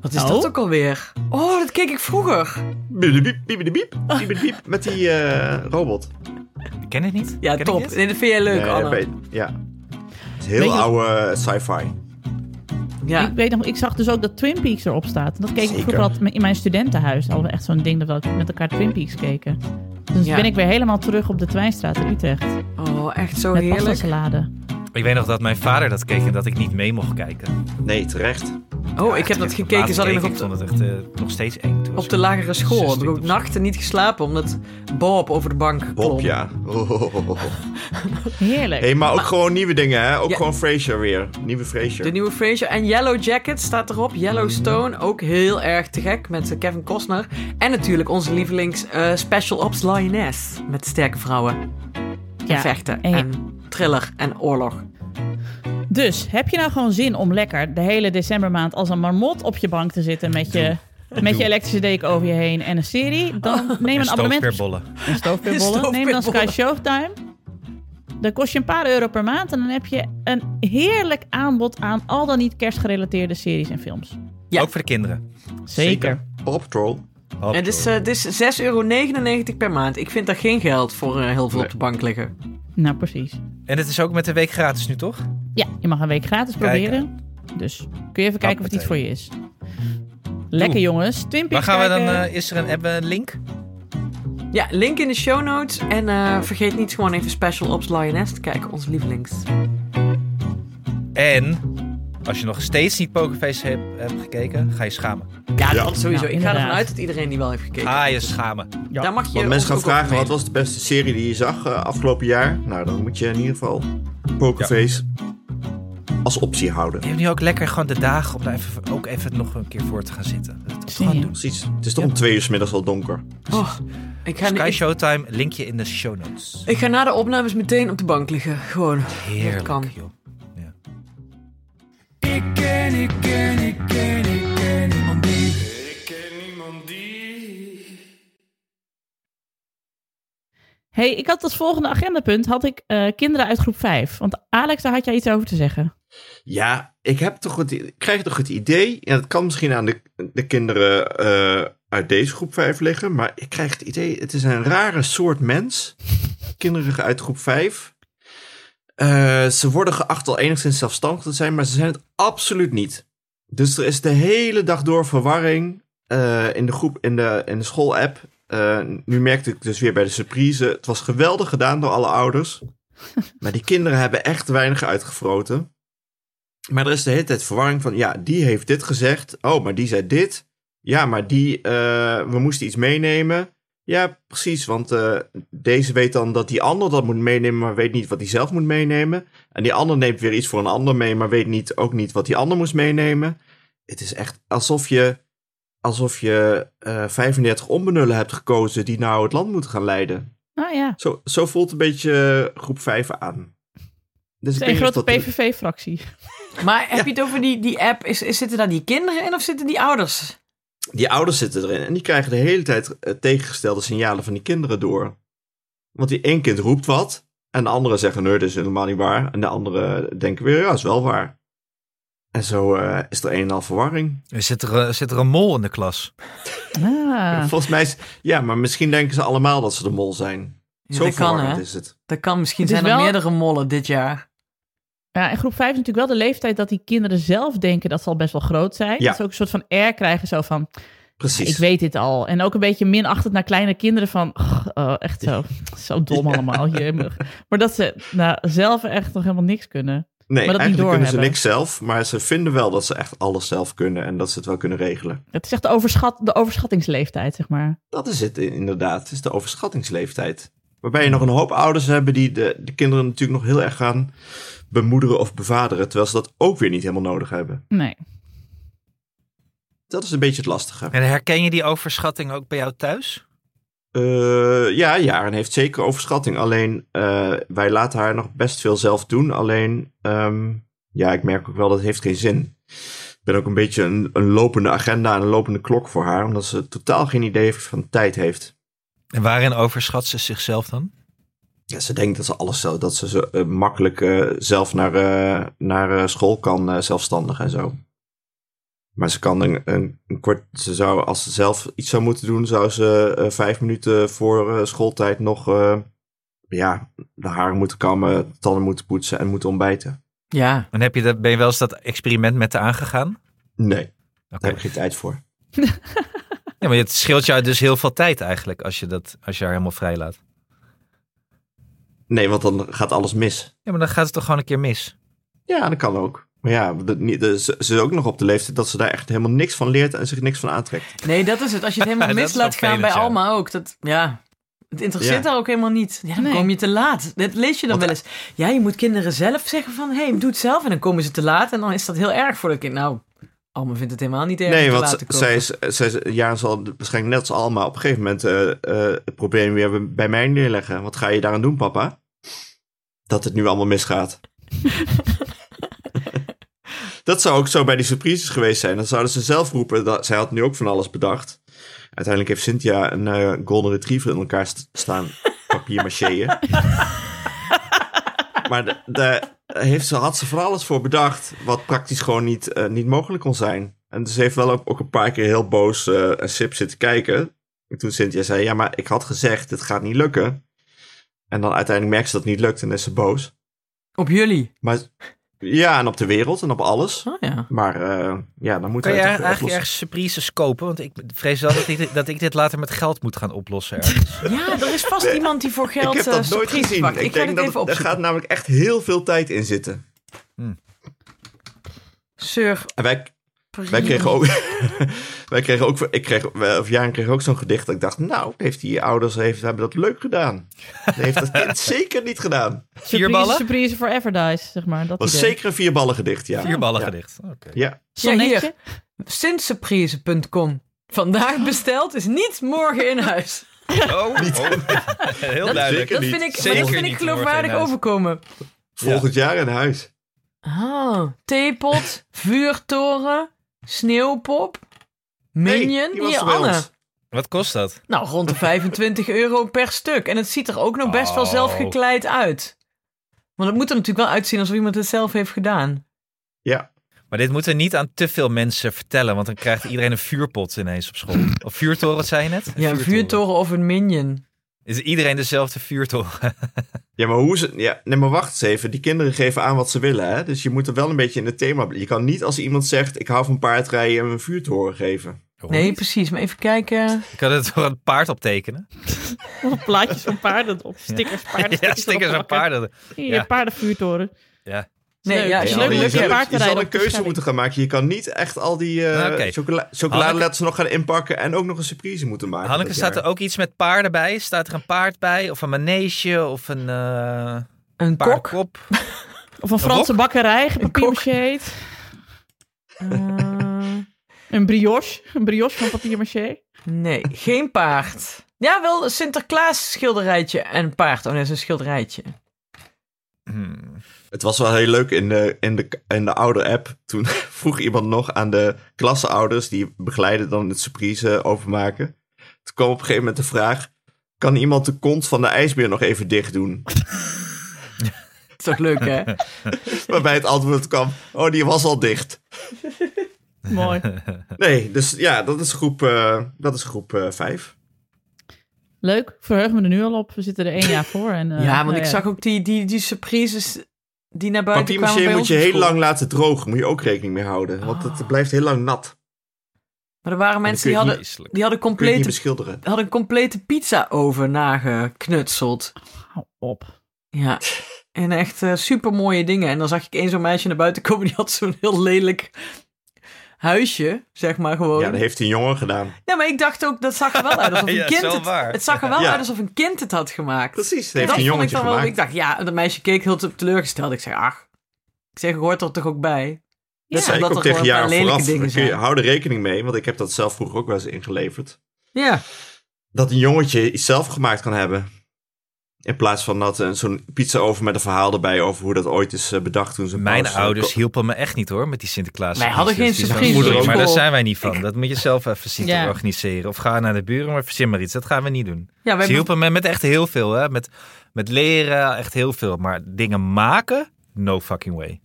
Wat is
Oh?
dat ook alweer? Oh, dat keek ik vroeger.
Biebidebiep, biebidebiep, biebidebiep. Met die eh, robot.
Ik ken het niet.
Ja,
Ken ik
top.
dit?
Nee, dat vind jij leuk,
Eh,
Anne.
bij- ja. Het is
Weet
heel
je-
oude eh, sci-fi.
Ja.
Ik weet nog, ik zag dus ook dat Twin Peaks erop staat. En dat keek
Zeker.
ik vroeger altijd in mijn studentenhuis. Al echt zo'n ding dat we met elkaar Twin Peaks keken. Dus
Ja.
ben ik weer helemaal terug op de Twijnstraat in Utrecht.
Oh, echt zo
met
heerlijk.
pastasalade.
Ik weet nog dat mijn vader dat keek en dat ik niet mee mocht kijken.
Nee, terecht.
Oh, ik heb dat gekeken. Zat ik nog
Ik
op
vond
de,
het echt eh, nog steeds eng. Toen was
op de lagere school. Heb ik nou,
16
ook
of zo.
nachten niet geslapen omdat Bob over de bank klom.
Bob, ja. Oh, oh, oh, oh.
Heerlijk.
Hey, maar ook gewoon nieuwe dingen, hè? Ook
Ja.
gewoon Frasier weer. Nieuwe Frasier.
De nieuwe Frasier. En Yellow Jacket staat erop.
Mm.
Yellowstone, ook heel erg te gek met eh, Kevin Costner. En natuurlijk onze lievelings eh, Special Ops Lioness. Met sterke vrouwen. En
Ja.
vechten.
En-
En thriller en oorlog.
Dus heb je nou gewoon zin om lekker de hele decembermaand als een marmot op je bank te zitten met je, met je elektrische deken over je heen en een serie? Dan neem een
En
abonnement op
stoofpeerbollen.
en stoofpeerbollen. Neem dan Sky
Stoofpeerbollen.
Showtime. Dat kost je een paar euro per maand en dan heb je een heerlijk aanbod aan al dan niet kerstgerelateerde series en films.
Ja.
Ook voor de kinderen.
Zeker.
Paw Patrol.
Hop,
Het is,
joh.
eh, het is 6,99 euro per maand. Ik vind daar geen geld voor eh, heel veel
Nee.
op de bank liggen.
Nou, precies.
En het is ook met een week gratis nu, toch?
Ja, je mag een week gratis
Kijk,
proberen. Dus kun je even kijken of het iets voor je is. Lekker jongens. Twinpies
Waar gaan we dan?
kijken.
eh, is er een, hebben we een link?
Ja, link in de show notes. En eh, vergeet niet gewoon even Special Ops Lioness te kijken, ons lievelings.
En als je nog steeds niet Pokerface hebt, hebt gekeken, ga je schamen.
Ja,
Ja.
dat sowieso.
Nou,
ik ga
inderdaad.
ervan uit dat iedereen die wel heeft gekeken.
Ga je schamen.
Ja.
Daar mag je
Want mensen
ons ook
gaan
over
vragen, wat
mailen.
was de beste serie die je zag eh, afgelopen jaar? Nou, dan moet je in ieder geval Pokerface als optie houden.
Je hebt nu ook lekker gewoon de dagen om daar even, ook even nog een keer voor te gaan zitten. Dat
Zie
gewoon
je.
doen.
Precies. Het is toch om twee uur 's middags al donker.
Oh, ik, ga,
Sky
ik,
Showtime, linkje in de show notes.
ik ga na de opnames meteen op de bank liggen. Gewoon.
Heerlijk,
dat kan.
joh. Ja.
Ik ken, ik ken, ik ken, ik ken niemand die. Ik ken niemand die.
hey, ik had als volgende agendapunt had ik eh, kinderen uit groep 5. Want Alex, daar had jij iets over te zeggen.
Ja, ik, heb toch het, ik krijg toch het idee, en het kan misschien aan de, de kinderen eh, uit deze groep 5 liggen, maar ik krijg het idee, het is een rare soort mens. Kinderen uit groep 5. Eh, ze worden geacht al enigszins zelfstandig te zijn, maar ze zijn het absoluut niet. Dus er is de hele dag door verwarring eh, in de groep, in de, in de school-app. Eh, nu merkte ik dus weer bij de surprise, het was geweldig gedaan door alle ouders. Maar die kinderen hebben echt weinig uitgefroten. Maar er is de hele tijd verwarring van, ja, die heeft dit gezegd. Oh, maar die zei dit. Ja, maar die, eh, we moesten iets meenemen. Ja, precies, want eh, deze weet dan dat die ander dat moet meenemen, maar weet niet wat hij zelf moet meenemen. En die ander neemt weer iets voor een ander mee, maar weet niet, ook niet wat die ander moest meenemen. Het is echt alsof je, alsof je eh, 35 onbenullen hebt gekozen die nou het land moeten gaan leiden.
Nou ja,
Zo, zo voelt een beetje eh, groep 5 aan. Dus ik
het is een
weet niet of
grote
dat-
PVV-fractie.
Maar heb je het over die, die app? Is, is, zitten daar die kinderen in of zitten die ouders?
die ouders zitten erin en die krijgen de hele tijd eh, tegengestelde signalen van die kinderen door. Want die één kind roept wat en de anderen zeggen nee, dat is helemaal niet waar. En de anderen denken weer, ja, is wel waar. En zo eh, is er een en al verwarring.
Er zit er, eh, zit er een mol in de klas.
Ah.
Volgens mij is, ja, maar misschien denken ze allemaal dat ze de mol zijn.
Ja,
zo
dat kan,
verwarrend
hè?
is het.
Dat kan. Misschien
Het is
zijn er
wel-
meerdere mollen dit jaar.
Ja, en groep 5 is natuurlijk wel de leeftijd dat die kinderen zelf denken dat ze al best wel groot zijn.
Ja.
Dat ze ook een soort van air krijgen, zo van,
Precies.
ik weet dit al. En ook een beetje minachtend naar kleine kinderen van, "Ugh, oh, echt zo, zo dom allemaal. Jemig. Maar dat ze nou, zelf echt nog helemaal niks kunnen.
nee,
maar dat niet
eigenlijk kunnen ze
doorhebben.
niks zelf, maar ze vinden wel dat ze echt alles zelf kunnen en dat ze het wel kunnen regelen.
Het is echt de, overschat, de overschattingsleeftijd, zeg maar.
Dat is het inderdaad. Het is de overschattingsleeftijd. Waarbij je nog een hoop ouders hebben die de, de kinderen natuurlijk nog heel erg gaan bemoederen of bevaderen. Terwijl ze dat ook weer niet helemaal nodig hebben.
Nee.
Dat is een beetje het lastige.
En herken je die overschatting ook bij jou thuis?
Eh, ja, Jaren heeft zeker overschatting. Alleen eh, wij laten haar nog best veel zelf doen. Alleen, ehm, ja, ik merk ook wel dat heeft geen zin. Ik ben ook een beetje een, een lopende agenda en een lopende klok voor haar. Omdat ze totaal geen idee heeft van tijd heeft.
En waarin overschat ze zichzelf dan?
Ja, ze denkt dat ze alles zelf, dat ze zo, eh, makkelijk eh, zelf naar, eh, naar eh, school kan, eh, zelfstandig en zo. Maar ze kan een, een, een kwart, ze zou, als ze zelf iets zou moeten doen, zou ze eh, vijf minuten voor eh, schooltijd nog, eh, ja, de haren moeten kammen, tanden moeten poetsen en moeten ontbijten.
Ja.
Dan heb je dat, ben je wel eens dat experiment met haar aangegaan?
Nee,
Oké.
daar heb ik geen tijd voor.
Ja, maar het scheelt jou dus heel veel tijd eigenlijk als je, dat, als je haar helemaal vrij laat.
Nee, want dan gaat alles mis.
Ja, maar dan gaat het toch gewoon een keer mis?
Ja, dat kan ook. Maar ja, dat niet- dat- ze ze is ook nog op de leeftijd dat ze daar echt helemaal niks van leert en zich niks van aantrekt.
Nee, dat is het. Als je het helemaal
Dat
mis
is
laat gaan bij
vervelend, ja.
Alma ook. Dat, ja. Het interesseert
Ja.
haar ook helemaal niet. Ja, dan
Nee.
kom je te laat. Dat lees je dan
Want-
wel eens. Ja, je moet kinderen zelf zeggen van... Hé, hey, doe het zelf. En dan komen ze te laat. En dan is dat heel erg voor dat kind. Nou, Alma vindt het helemaal niet erg om
Nee,
te
want
laat
z-
te komen.
zij, is- zij is- Jaren zal waarschijnlijk net als Alma op een gegeven moment eh, eh, het probleem weer bij- bij mij neerleggen. Wat ga je daaraan doen, papa? Dat het nu allemaal misgaat. dat zou ook zo bij die surprises geweest zijn. Dan zouden ze zelf roepen, dat, zij had nu ook van alles bedacht. Uiteindelijk heeft Cynthia een eh, golden retriever in elkaar st- staan. Papier macheën. maar de- de- heeft ze, had ze van alles voor bedacht. Wat praktisch gewoon niet, eh, niet mogelijk kon zijn. En ze heeft wel ook, ook een paar keer heel boos eh een sip zitten kijken. En toen Cynthia zei, ja, maar ik had gezegd, dit gaat niet lukken. En dan uiteindelijk merkt ze dat het niet lukt en is ze boos.
Op jullie.
Maar ja, en op de wereld en op alles.
Oh ja.
Maar eh, ja, dan moet
Kan je
hij het
eigenlijk
oplossen.
ergens surprises kopen? Want ik vrees wel dat ik, dit- dat ik dit later met geld moet gaan oplossen. ergens.
Ja, er is vast iemand die voor geld
Ik
eh,
heb dat nooit
surprises
gezien.
pakt.
Ik,
Ik, ga
denk
dit
dat
even
het- er
opzoeken.
gaat namelijk echt heel veel tijd in zitten.
Sir,
En wij, Wij kregen ook. wij kregen ook. Ik kreeg. wij- Of Jaren kreeg ook zo'n gedicht. Dat ik dacht. Nou, heeft die ouders heeft, hebben dat leuk gedaan. Dat heeft dat kind zeker niet gedaan.
Surprise,
ballen?
Surprise for Everdice, zeg maar. Dat
was
idee.
zeker een vierballen gedicht. Ja.
Vier ballen
Ja.
gedicht. Oké.
Ja.
Sonnetje.
Ja, hier. Sintsurprise.com. Vandaag besteld is niet morgen in huis.
Oh, oh. heel
Dat-
duidelijk.
Zeker
Dat
niet.
vind ik, maar
Zeker
dat vind ik
niet morgen in
geloofwaardig
huis.
overkomen.
Volgend jaar in huis.
Ah, theepot, vuurtoren, sneeuwpop,
Nee,
minion.
die was
Hier,
er bij
Anne.
ons.
Wat kost dat?
Nou, rond de 25 euro per stuk. En het ziet er ook nog best wel
Oh.
zelfgekleid uit. Want het moet er natuurlijk wel uitzien alsof iemand het zelf heeft gedaan.
Ja.
Maar dit moeten we niet aan te veel mensen vertellen, want dan krijgt iedereen een vuurpot ineens op school. Of vuurtoren, zei je net?
Ja, een vuurtoren of een minion.
Is iedereen dezelfde vuurtoren?
Ja, maar hoe ze. Ja, nee, maar wacht eens even. Die kinderen geven aan wat ze willen. Hè? Dus je moet er wel een beetje in het thema. bl- Je kan niet als iemand zegt. Ik hou van paardrijden. en een vuurtoren geven.
Nee, precies. Maar even kijken.
Ik kan het door een paard optekenen.
Of plaatjes van paarden op. Stickers, paarden.
Ja, stickers aan paarden.
Hier,
Ja.
paardenvuurtoren.
Ja.
Nee,
Leuk.
ja,
Is
je
Ja,
leuk
moet
je,
met
lukken.
je
zou-
paard te
je
rijden
zal een
op de
keuze
Schelling.
moeten gaan maken. Je kan niet echt al die eh
Ah, oké.
chocola chocolade
Hanneke-
laten nog gaan inpakken en ook nog een surprise moeten maken.
Hanneke,
dat
staat er
jaar.
ook iets met paarden bij? Staat er een paard bij? Of een manege? Of een eh
Een kok.
paardenkop?
Of een Franse
Een
bakkerij,
kok.
papier heet. Eh, Een brioche. Een brioche van papier maché.
Nee, geen paard. Ja, wel een Sinterklaas schilderijtje en een paard. Oh nee, dat is een schilderijtje.
Hmm.
Het was wel heel leuk in de, in de, in de oude app. Toen vroeg iemand nog aan de klasseouders die begeleiden dan het surprise eh, overmaken. Toen kwam op een gegeven moment de vraag: kan iemand de kont van de ijsbeer nog even dicht doen?
Is toch leuk, hè?
Waarbij het antwoord kwam: oh, die was al dicht.
Mooi.
Nee, dus ja, dat is groep, eh, dat is groep 5.
Leuk. Ik Verheug me er nu al op. We zitten er één jaar voor. En, eh,
ja, want
nou
ik zag ook die, die, die surprises die naar buiten
Papier
kwamen bij
moet
ons
je
op
heel
school. Ah.
lang laten drogen. Moet je ook rekening mee houden. Want het blijft heel lang nat.
Maar er waren mensen
kun
die
je
hadden,
Vreselijk.
die hadden,
Kun je het niet
complete,
beschilderen.
hadden een complete pizza over nageknutseld.
Hou op.
Ja. En echt super mooie dingen. En dan zag ik één zo'n meisje naar buiten komen. Die had zo'n heel lelijk huisje, zeg maar gewoon.
Ja, dat heeft een jongen gedaan.
Nee, maar ik dacht ook, dat zag er wel uit alsof een
Ja,
kind
is wel
het...
waar.
Het zag er wel
Ja.
uit alsof een kind het had gemaakt.
Precies, dat
En
heeft
dat
een
vond ik
jongetje
dan wel... Ik
gemaakt.
dacht, ja, en dat meisje keek heel te- teleurgesteld. Ik zeg, ach. Ik zeg, hoort er toch ook bij?
Ja.
Dat
Zei ik
omdat
ook
er
tegen
gewoon een
jaar
paar lelijke
vooraf,
dingen
kun je,
zijn.
hou er rekening mee, want ik heb dat zelf vroeger ook wel eens ingeleverd.
Ja.
Dat een jongetje iets zelf gemaakt kan hebben. In plaats van dat eh, zo'n pizza over met een verhaal erbij over hoe dat ooit is eh, bedacht toen ze
Mijn
paus, eh,
ouders
ko-
hielpen me echt niet hoor met die Sinterklaas.
Wij hadden geen
surprises.
surprises
Moeder,
op
maar
school.
daar zijn wij niet van. Dat moet je zelf even zien
Ja.
te organiseren. Of ga naar de buren, maar verzin maar iets. Dat gaan we niet doen.
Ja, wij
Ze hielpen me met echt heel veel. Hè? Met, met leren, echt heel veel. Maar dingen maken, no fucking way.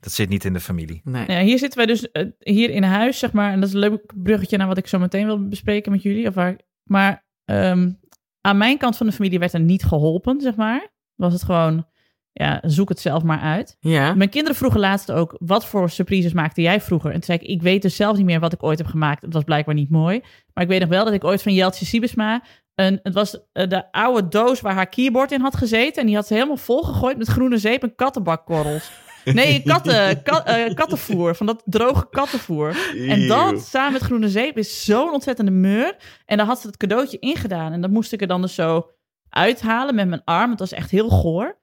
Dat zit niet in de familie.
Nee.
Nou ja, hier zitten wij dus eh, hier in huis, zeg maar. En dat is een leuk bruggetje naar wat ik zo meteen wil bespreken met jullie. Of waar, maar ehm, aan mijn kant van de familie werd er niet geholpen, zeg maar. Was het gewoon, ja, zoek het zelf maar uit.
Ja.
Mijn kinderen vroegen laatst ook, wat voor surprises maakte jij vroeger? En toen zei ik, ik weet dus zelf niet meer wat ik ooit heb gemaakt. Het was blijkbaar niet mooi. Maar ik weet nog wel dat ik ooit van Jeltje Siebesma... Een, het was eh, de oude doos waar haar keyboard in had gezeten. En die had ze helemaal volgegooid met groene zeep en kattenbakkorrels. Nee, katten, ka- eh, kattenvoer. Van dat droge kattenvoer. En
Eeuw.
dat samen met groene zeep is zo'n ontzettende meur. En daar had ze het cadeautje ingedaan. En dat moest ik er dan dus zo uithalen met mijn arm. Het was echt heel goor.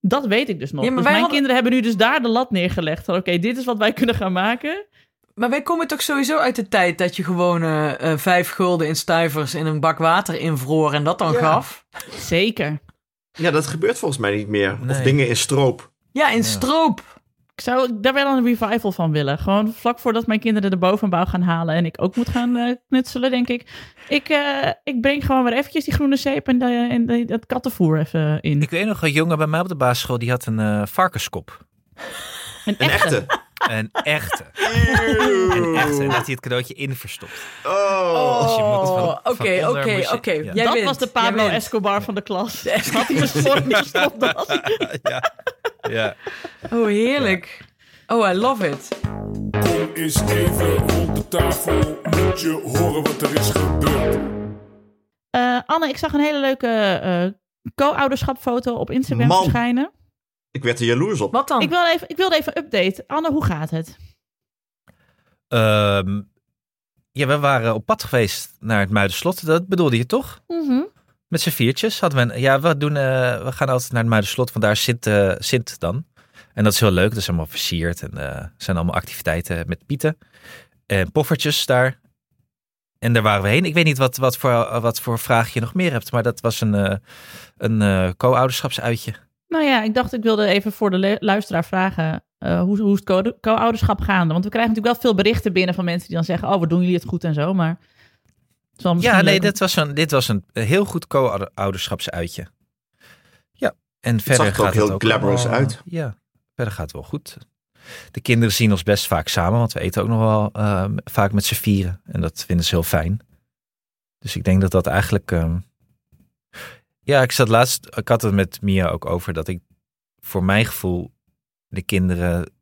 Dat weet ik dus nog.
Ja, maar
dus
wij
mijn
hadden-
kinderen hebben nu dus daar de lat neergelegd. Van oké, dit is wat wij kunnen gaan maken.
Maar wij komen toch sowieso uit de tijd dat je gewoon eh, eh, vijf gulden in stuivers in een bak water invroor en dat dan
Ja.
gaf?
Zeker.
Ja, dat gebeurt volgens mij niet meer. Of
Nee.
dingen in stroop.
Ja, in stroop.
Ik zou daar wel een revival van willen. Gewoon vlak voordat mijn kinderen de bovenbouw gaan halen en ik ook moet gaan eh, knutselen, denk ik. Ik, eh, ik breng gewoon weer eventjes die groene zeep en, de- en de- dat kattenvoer even in.
Ik weet nog een jongen bij mij op de basisschool. Die had een eh, varkenskop.
Een
Een
echte.
echte.
Een echte. Een echte. En dat hij het cadeautje in verstopt.
Oh.
Als je hem nog van- van
Oké,
onder
oké,
moest-
oké.
ja.
Jij
dat
wint.
was de
Jij
Pablo
wint.
Escobar van de klas. Had hij verstopt, die verstopt dat.
ja. ja.
Oh, heerlijk. Oh, I love it.
Kom eens even rond de tafel, moet je horen wat er is gebeurd.
Eh, Anne, ik zag een hele leuke eh, co-ouderschapfoto op Instagram
Man.
verschijnen.
Ik werd er jaloers op.
Wat dan?
Ik, wil even, ik wilde even een update. Anne, hoe gaat het?
Ehm, ja, we waren op pad geweest naar het Muiderslot. Dat bedoelde je toch?
Mhm.
Met z'n viertjes hadden we een, Ja, we, doen, eh, we gaan altijd naar het Muiderslot, want daar zit, eh, zit dan. En dat is heel leuk. Dat is allemaal versierd en eh, zijn allemaal activiteiten met pieten. En poffertjes daar. En daar waren we heen. Ik weet niet wat, wat, voor, wat voor vraag je nog meer hebt, maar dat was een, eh, een eh, co-ouderschapsuitje.
Nou ja, ik dacht ik wilde even voor de le- luisteraar vragen eh, hoe, hoe is het co- co-ouderschap gaande? Want we krijgen natuurlijk wel veel berichten binnen van mensen die dan zeggen, oh, we doen jullie het goed en zo, maar... het is wel misschien
Ja, nee,
leuk om-
dit was een, dit was een heel goed co-ouderschapsuitje. Ja, en verder
zag er ook
gaat het
heel glamorous
wel,
uit.
Ja, verder gaat het wel goed. De kinderen zien ons best vaak samen, want we eten ook nog wel eh, vaak met z'n vieren. En dat vinden ze heel fijn. Dus ik denk dat dat eigenlijk... ehm, Ja, ik zat laatst... Ik had het met Mia ook over dat ik voor mijn gevoel de kinderen...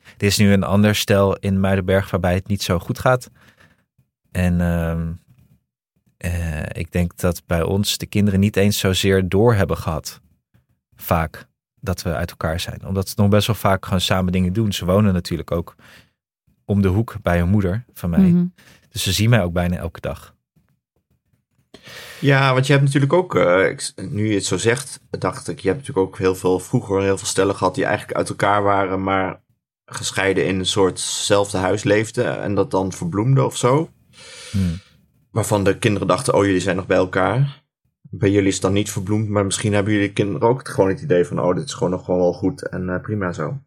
Er is nu een ander stel in Muidenberg waarbij het niet zo goed gaat. En ehm, eh, ik denk dat bij ons de kinderen niet eens zozeer door hebben gehad. Vaak dat we uit elkaar zijn. Omdat ze nog best wel vaak gewoon samen dingen doen. Ze wonen natuurlijk ook om de hoek bij hun moeder van mij.
Mhm.
Dus ze zien mij ook bijna elke dag.
Ja, want je hebt natuurlijk ook, eh, ik- nu je het zo zegt, dacht ik, je hebt natuurlijk ook heel veel, vroeger heel veel stellen gehad die eigenlijk uit elkaar waren, maar gescheiden in een soortzelfde huis leefden en dat dan verbloemde of zo.
Hmm.
Waarvan de kinderen dachten, oh jullie zijn nog bij elkaar. Bij jullie is het dan niet verbloemd, maar misschien hebben jullie kinderen ook het- gewoon het idee van, oh dit is gewoon nog gewoon wel goed en eh, prima zo.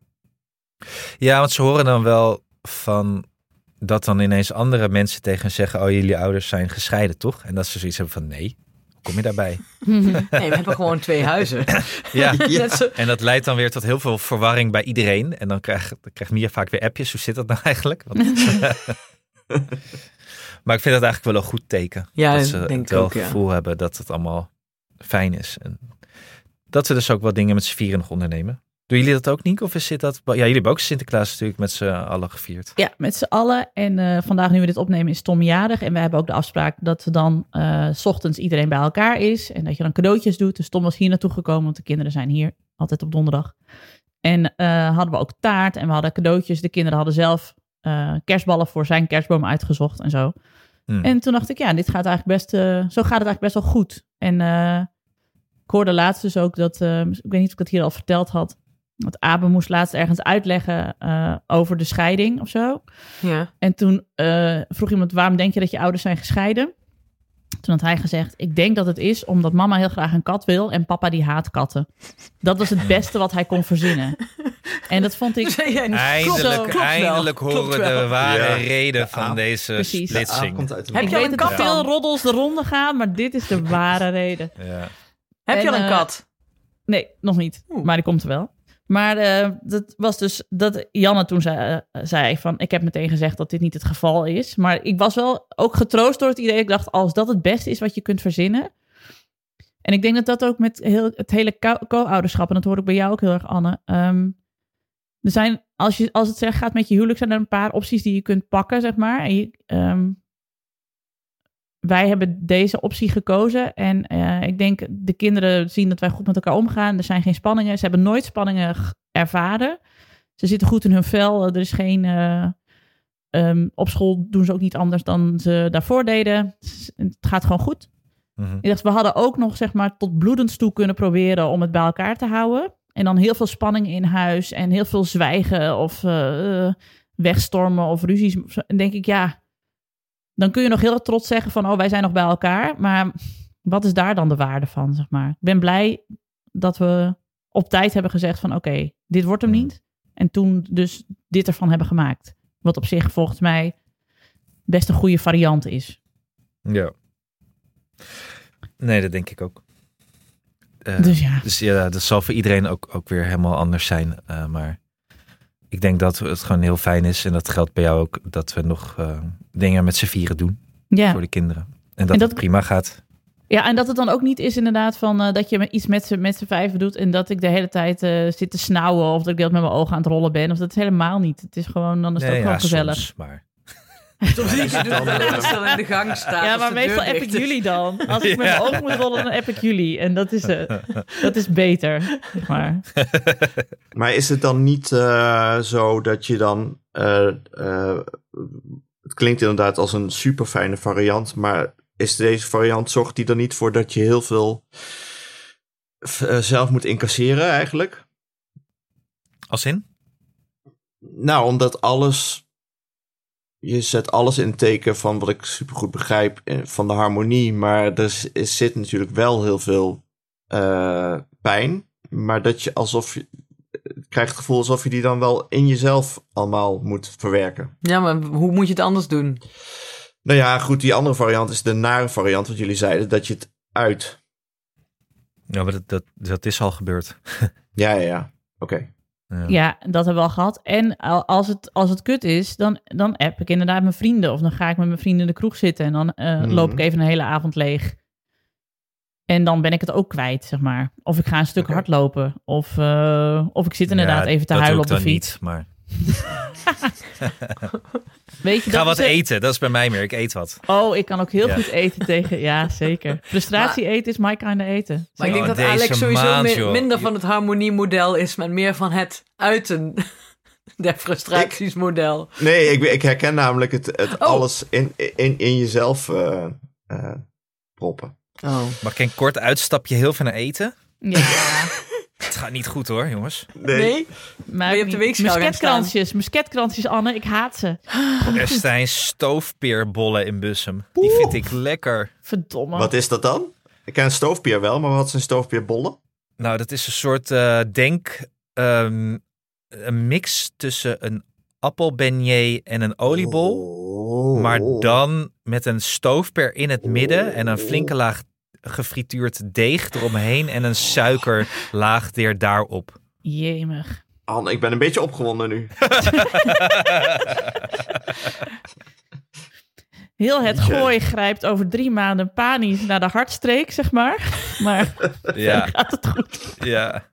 Ja, want ze horen dan wel van dat dan ineens andere mensen tegen hen zeggen... oh, jullie ouders zijn gescheiden, toch? En dat ze zoiets hebben van nee, hoe kom je daarbij?
Nee, we hebben gewoon twee huizen.
ja,
Net zo-
En dat leidt dan weer tot heel veel verwarring bij iedereen. En dan krijgt dan krijgt Mia vaak weer appjes. Hoe zit dat nou eigenlijk? Want- maar ik vind dat eigenlijk wel een goed teken.
Ja,
dat ze
denk
het
ik
wel
ook,
het
ja.
gevoel hebben dat het allemaal fijn is. En dat we dus ook wat dingen met z'n vieren nog ondernemen. Doen jullie dat ook, Nienke? Of is dit dat... Ja, jullie hebben ook Sinterklaas natuurlijk met z'n allen gevierd.
Ja, met z'n allen. En eh, vandaag, nu we dit opnemen, is Tom jarig. En we hebben ook de afspraak dat we dan eh, s ochtends iedereen bij elkaar is. En dat je dan cadeautjes doet. Dus Tom was hier naartoe gekomen, want de kinderen zijn hier altijd op donderdag. En eh, hadden we ook taart en we hadden cadeautjes. De kinderen hadden zelf eh, kerstballen voor zijn kerstboom uitgezocht en zo.
Hmm.
En toen dacht ik, ja, dit gaat eigenlijk best, eh, zo gaat het eigenlijk best wel goed. En eh, ik hoorde laatst dus ook dat, eh, ik weet niet of ik het hier al verteld had, dat Abe moest laatst ergens uitleggen eh, over de scheiding of zo.
Ja.
En toen eh, vroeg iemand, waarom denk je dat je ouders zijn gescheiden? Toen had hij gezegd, ik denk dat het is omdat mama heel graag een kat wil en papa die haat katten. Dat was het beste wat hij kon verzinnen. En dat vond ik...
Zei jij niet?
Klopt
Eindelijk,
wel, klopt
eindelijk
klopt
horen
wel.
de ware
Ja.
reden van
aap.
deze
Precies. De aap
Ah,
splitsing.
komt uit de
Heb
Ik
je al
weet
een
dat er
kat
veel
dan?
roddels de ronde gaan, maar dit is de ware reden.
Ja.
Heb je
En,
al een
eh,
kat?
Nee, nog niet.
Oeh.
Maar die komt er wel. Maar eh, dat was dus dat Janne toen zei, eh, zei van... ik heb meteen gezegd dat dit niet het geval is. Maar ik was wel ook getroost door het idee. Ik dacht, als dat het beste is wat je kunt verzinnen... En ik denk dat dat ook met heel, het hele co- co-ouderschap... en dat hoor ik bij jou ook heel erg, Anne... ehm, er zijn, als, je, als het zeg, gaat met je huwelijk... zijn er een paar opties die je kunt pakken, zeg maar. En je, ehm, wij hebben deze optie gekozen. En eh, ik denk, de kinderen zien dat wij goed met elkaar omgaan. Er zijn geen spanningen. Ze hebben nooit spanningen g- ervaren. Ze zitten goed in hun vel. Er is geen. eh, ehm, op school doen ze ook niet anders dan ze daarvoor deden. S- Het gaat gewoon goed.
Mhm.
Ik dacht, we hadden ook nog zeg maar tot bloedens toe kunnen proberen om het bij elkaar te houden. En dan heel veel spanning in huis en heel veel zwijgen of eh, eh, wegstormen of ruzies. En denk ik, ja, dan kun je nog heel trots zeggen van, oh, wij zijn nog bij elkaar. Maar wat is daar dan de waarde van, zeg maar? Ik ben blij dat we op tijd hebben gezegd van, oké, dit wordt hem niet. En toen dus dit ervan hebben gemaakt. Wat op zich volgens mij best een goede variant is.
Ja. Nee, dat denk ik ook. Eh,
Dus ja.
Dus ja, dat zal voor iedereen ook, ook weer helemaal anders zijn. eh, maar ik denk dat het gewoon heel fijn is. En dat geldt bij jou ook. Dat we nog eh, dingen met z'n vieren doen
Ja.
voor de kinderen. En dat,
En dat-
het prima gaat.
Ja, en dat het dan ook niet is inderdaad van eh, dat je met- iets met z'n met z'n vijven doet en dat ik de hele tijd eh, zit te snauwen of dat ik dat met mijn ogen aan het rollen ben. Of dat is helemaal niet. Het is gewoon, dan is
Nee,
het ook gewoon
ja,
gezellig.
soms, maar
Soms zie ik je doen dat als dan in de gang staat.
Ja,
of
maar
de
meestal
deur
app
dicht
ik
is.
jullie dan. Als ik met mijn
Ja.
ogen moet rollen, dan app ik jullie. En dat is, eh, dat is beter. zeg Maar.
Maar is het dan niet eh, zo dat je dan. eh, eh, het klinkt inderdaad als een super fijne variant, maar is deze variant zorgt die er niet voor dat je heel veel f- eh, zelf moet incasseren eigenlijk?
als in?
Nou, omdat alles. Je zet alles in het teken van wat ik supergoed begrijp, eh, van de harmonie. Maar er is- is- zit natuurlijk wel heel veel eh, pijn. Maar dat je alsof je. Het krijgt het gevoel alsof je die dan wel in jezelf allemaal moet verwerken.
Ja, maar hoe moet je het anders doen?
Nou ja, goed, die andere variant is de nare variant, wat jullie zeiden, dat je het uit.
Ja, maar dat, dat, dat is al gebeurd.
Ja, ja, ja. Oké.
Ja, dat hebben we al gehad. En al- als het, als het kut is, dan, dan app ik inderdaad mijn vrienden. Of dan ga ik met mijn vrienden in de kroeg zitten. En dan eh,
Mhm.
loop ik even een hele avond leeg. En dan ben ik het ook kwijt, zeg maar. Of ik ga een stuk
Oké.
hardlopen. Of, eh, of ik zit inderdaad
Ja,
even te
dat
huilen
doe
op
ik
de
dan
fiets.
Niet, maar ik
Weet je,
ga
dat
wat
is het-
eten. Dat is bij mij meer. Ik eet wat.
Oh, ik kan ook heel
Ja.
goed eten tegen... Ja, zeker. Frustratie eten is my kind of eten.
Maar ik denk
Oh,
dat Alex
deze
sowieso
maand,
mi-
joh.
minder van het harmoniemodel is, maar meer van het uiten der frustratiesmodel.
Nee, ik, ik herken namelijk het, het
Oh.
alles in, in, in jezelf eh, eh, proppen.
Oh.
Mag ik een kort uitstapje heel veel naar eten?
Ja,
Het gaat niet goed hoor, jongens.
Nee?
maar
je hebt de weegschaal gaan
Musketkransjes, musketkransjes, Anne. Ik haat ze.
Er zijn stoofpeerbollen in Bussum. Die vind ik lekker.
Verdomme.
Wat is dat dan? Ik ken stoofpeer wel, maar wat zijn stoofpeerbollen?
Nou, dat is een soort eh, denk... ehm, een mix tussen een appelbeignet en een oliebol.
Oh.
Maar dan met een stoofper in het midden en een flinke
Oh.
laag gefrituurd deeg eromheen en een suikerlaag er daarop.
Jemig.
Anne, ik ben een beetje opgewonden nu.
Heel het gooi grijpt over drie maanden panisch naar de hartstreek, zeg maar. Maar
Ja,
gaat het goed?
ja.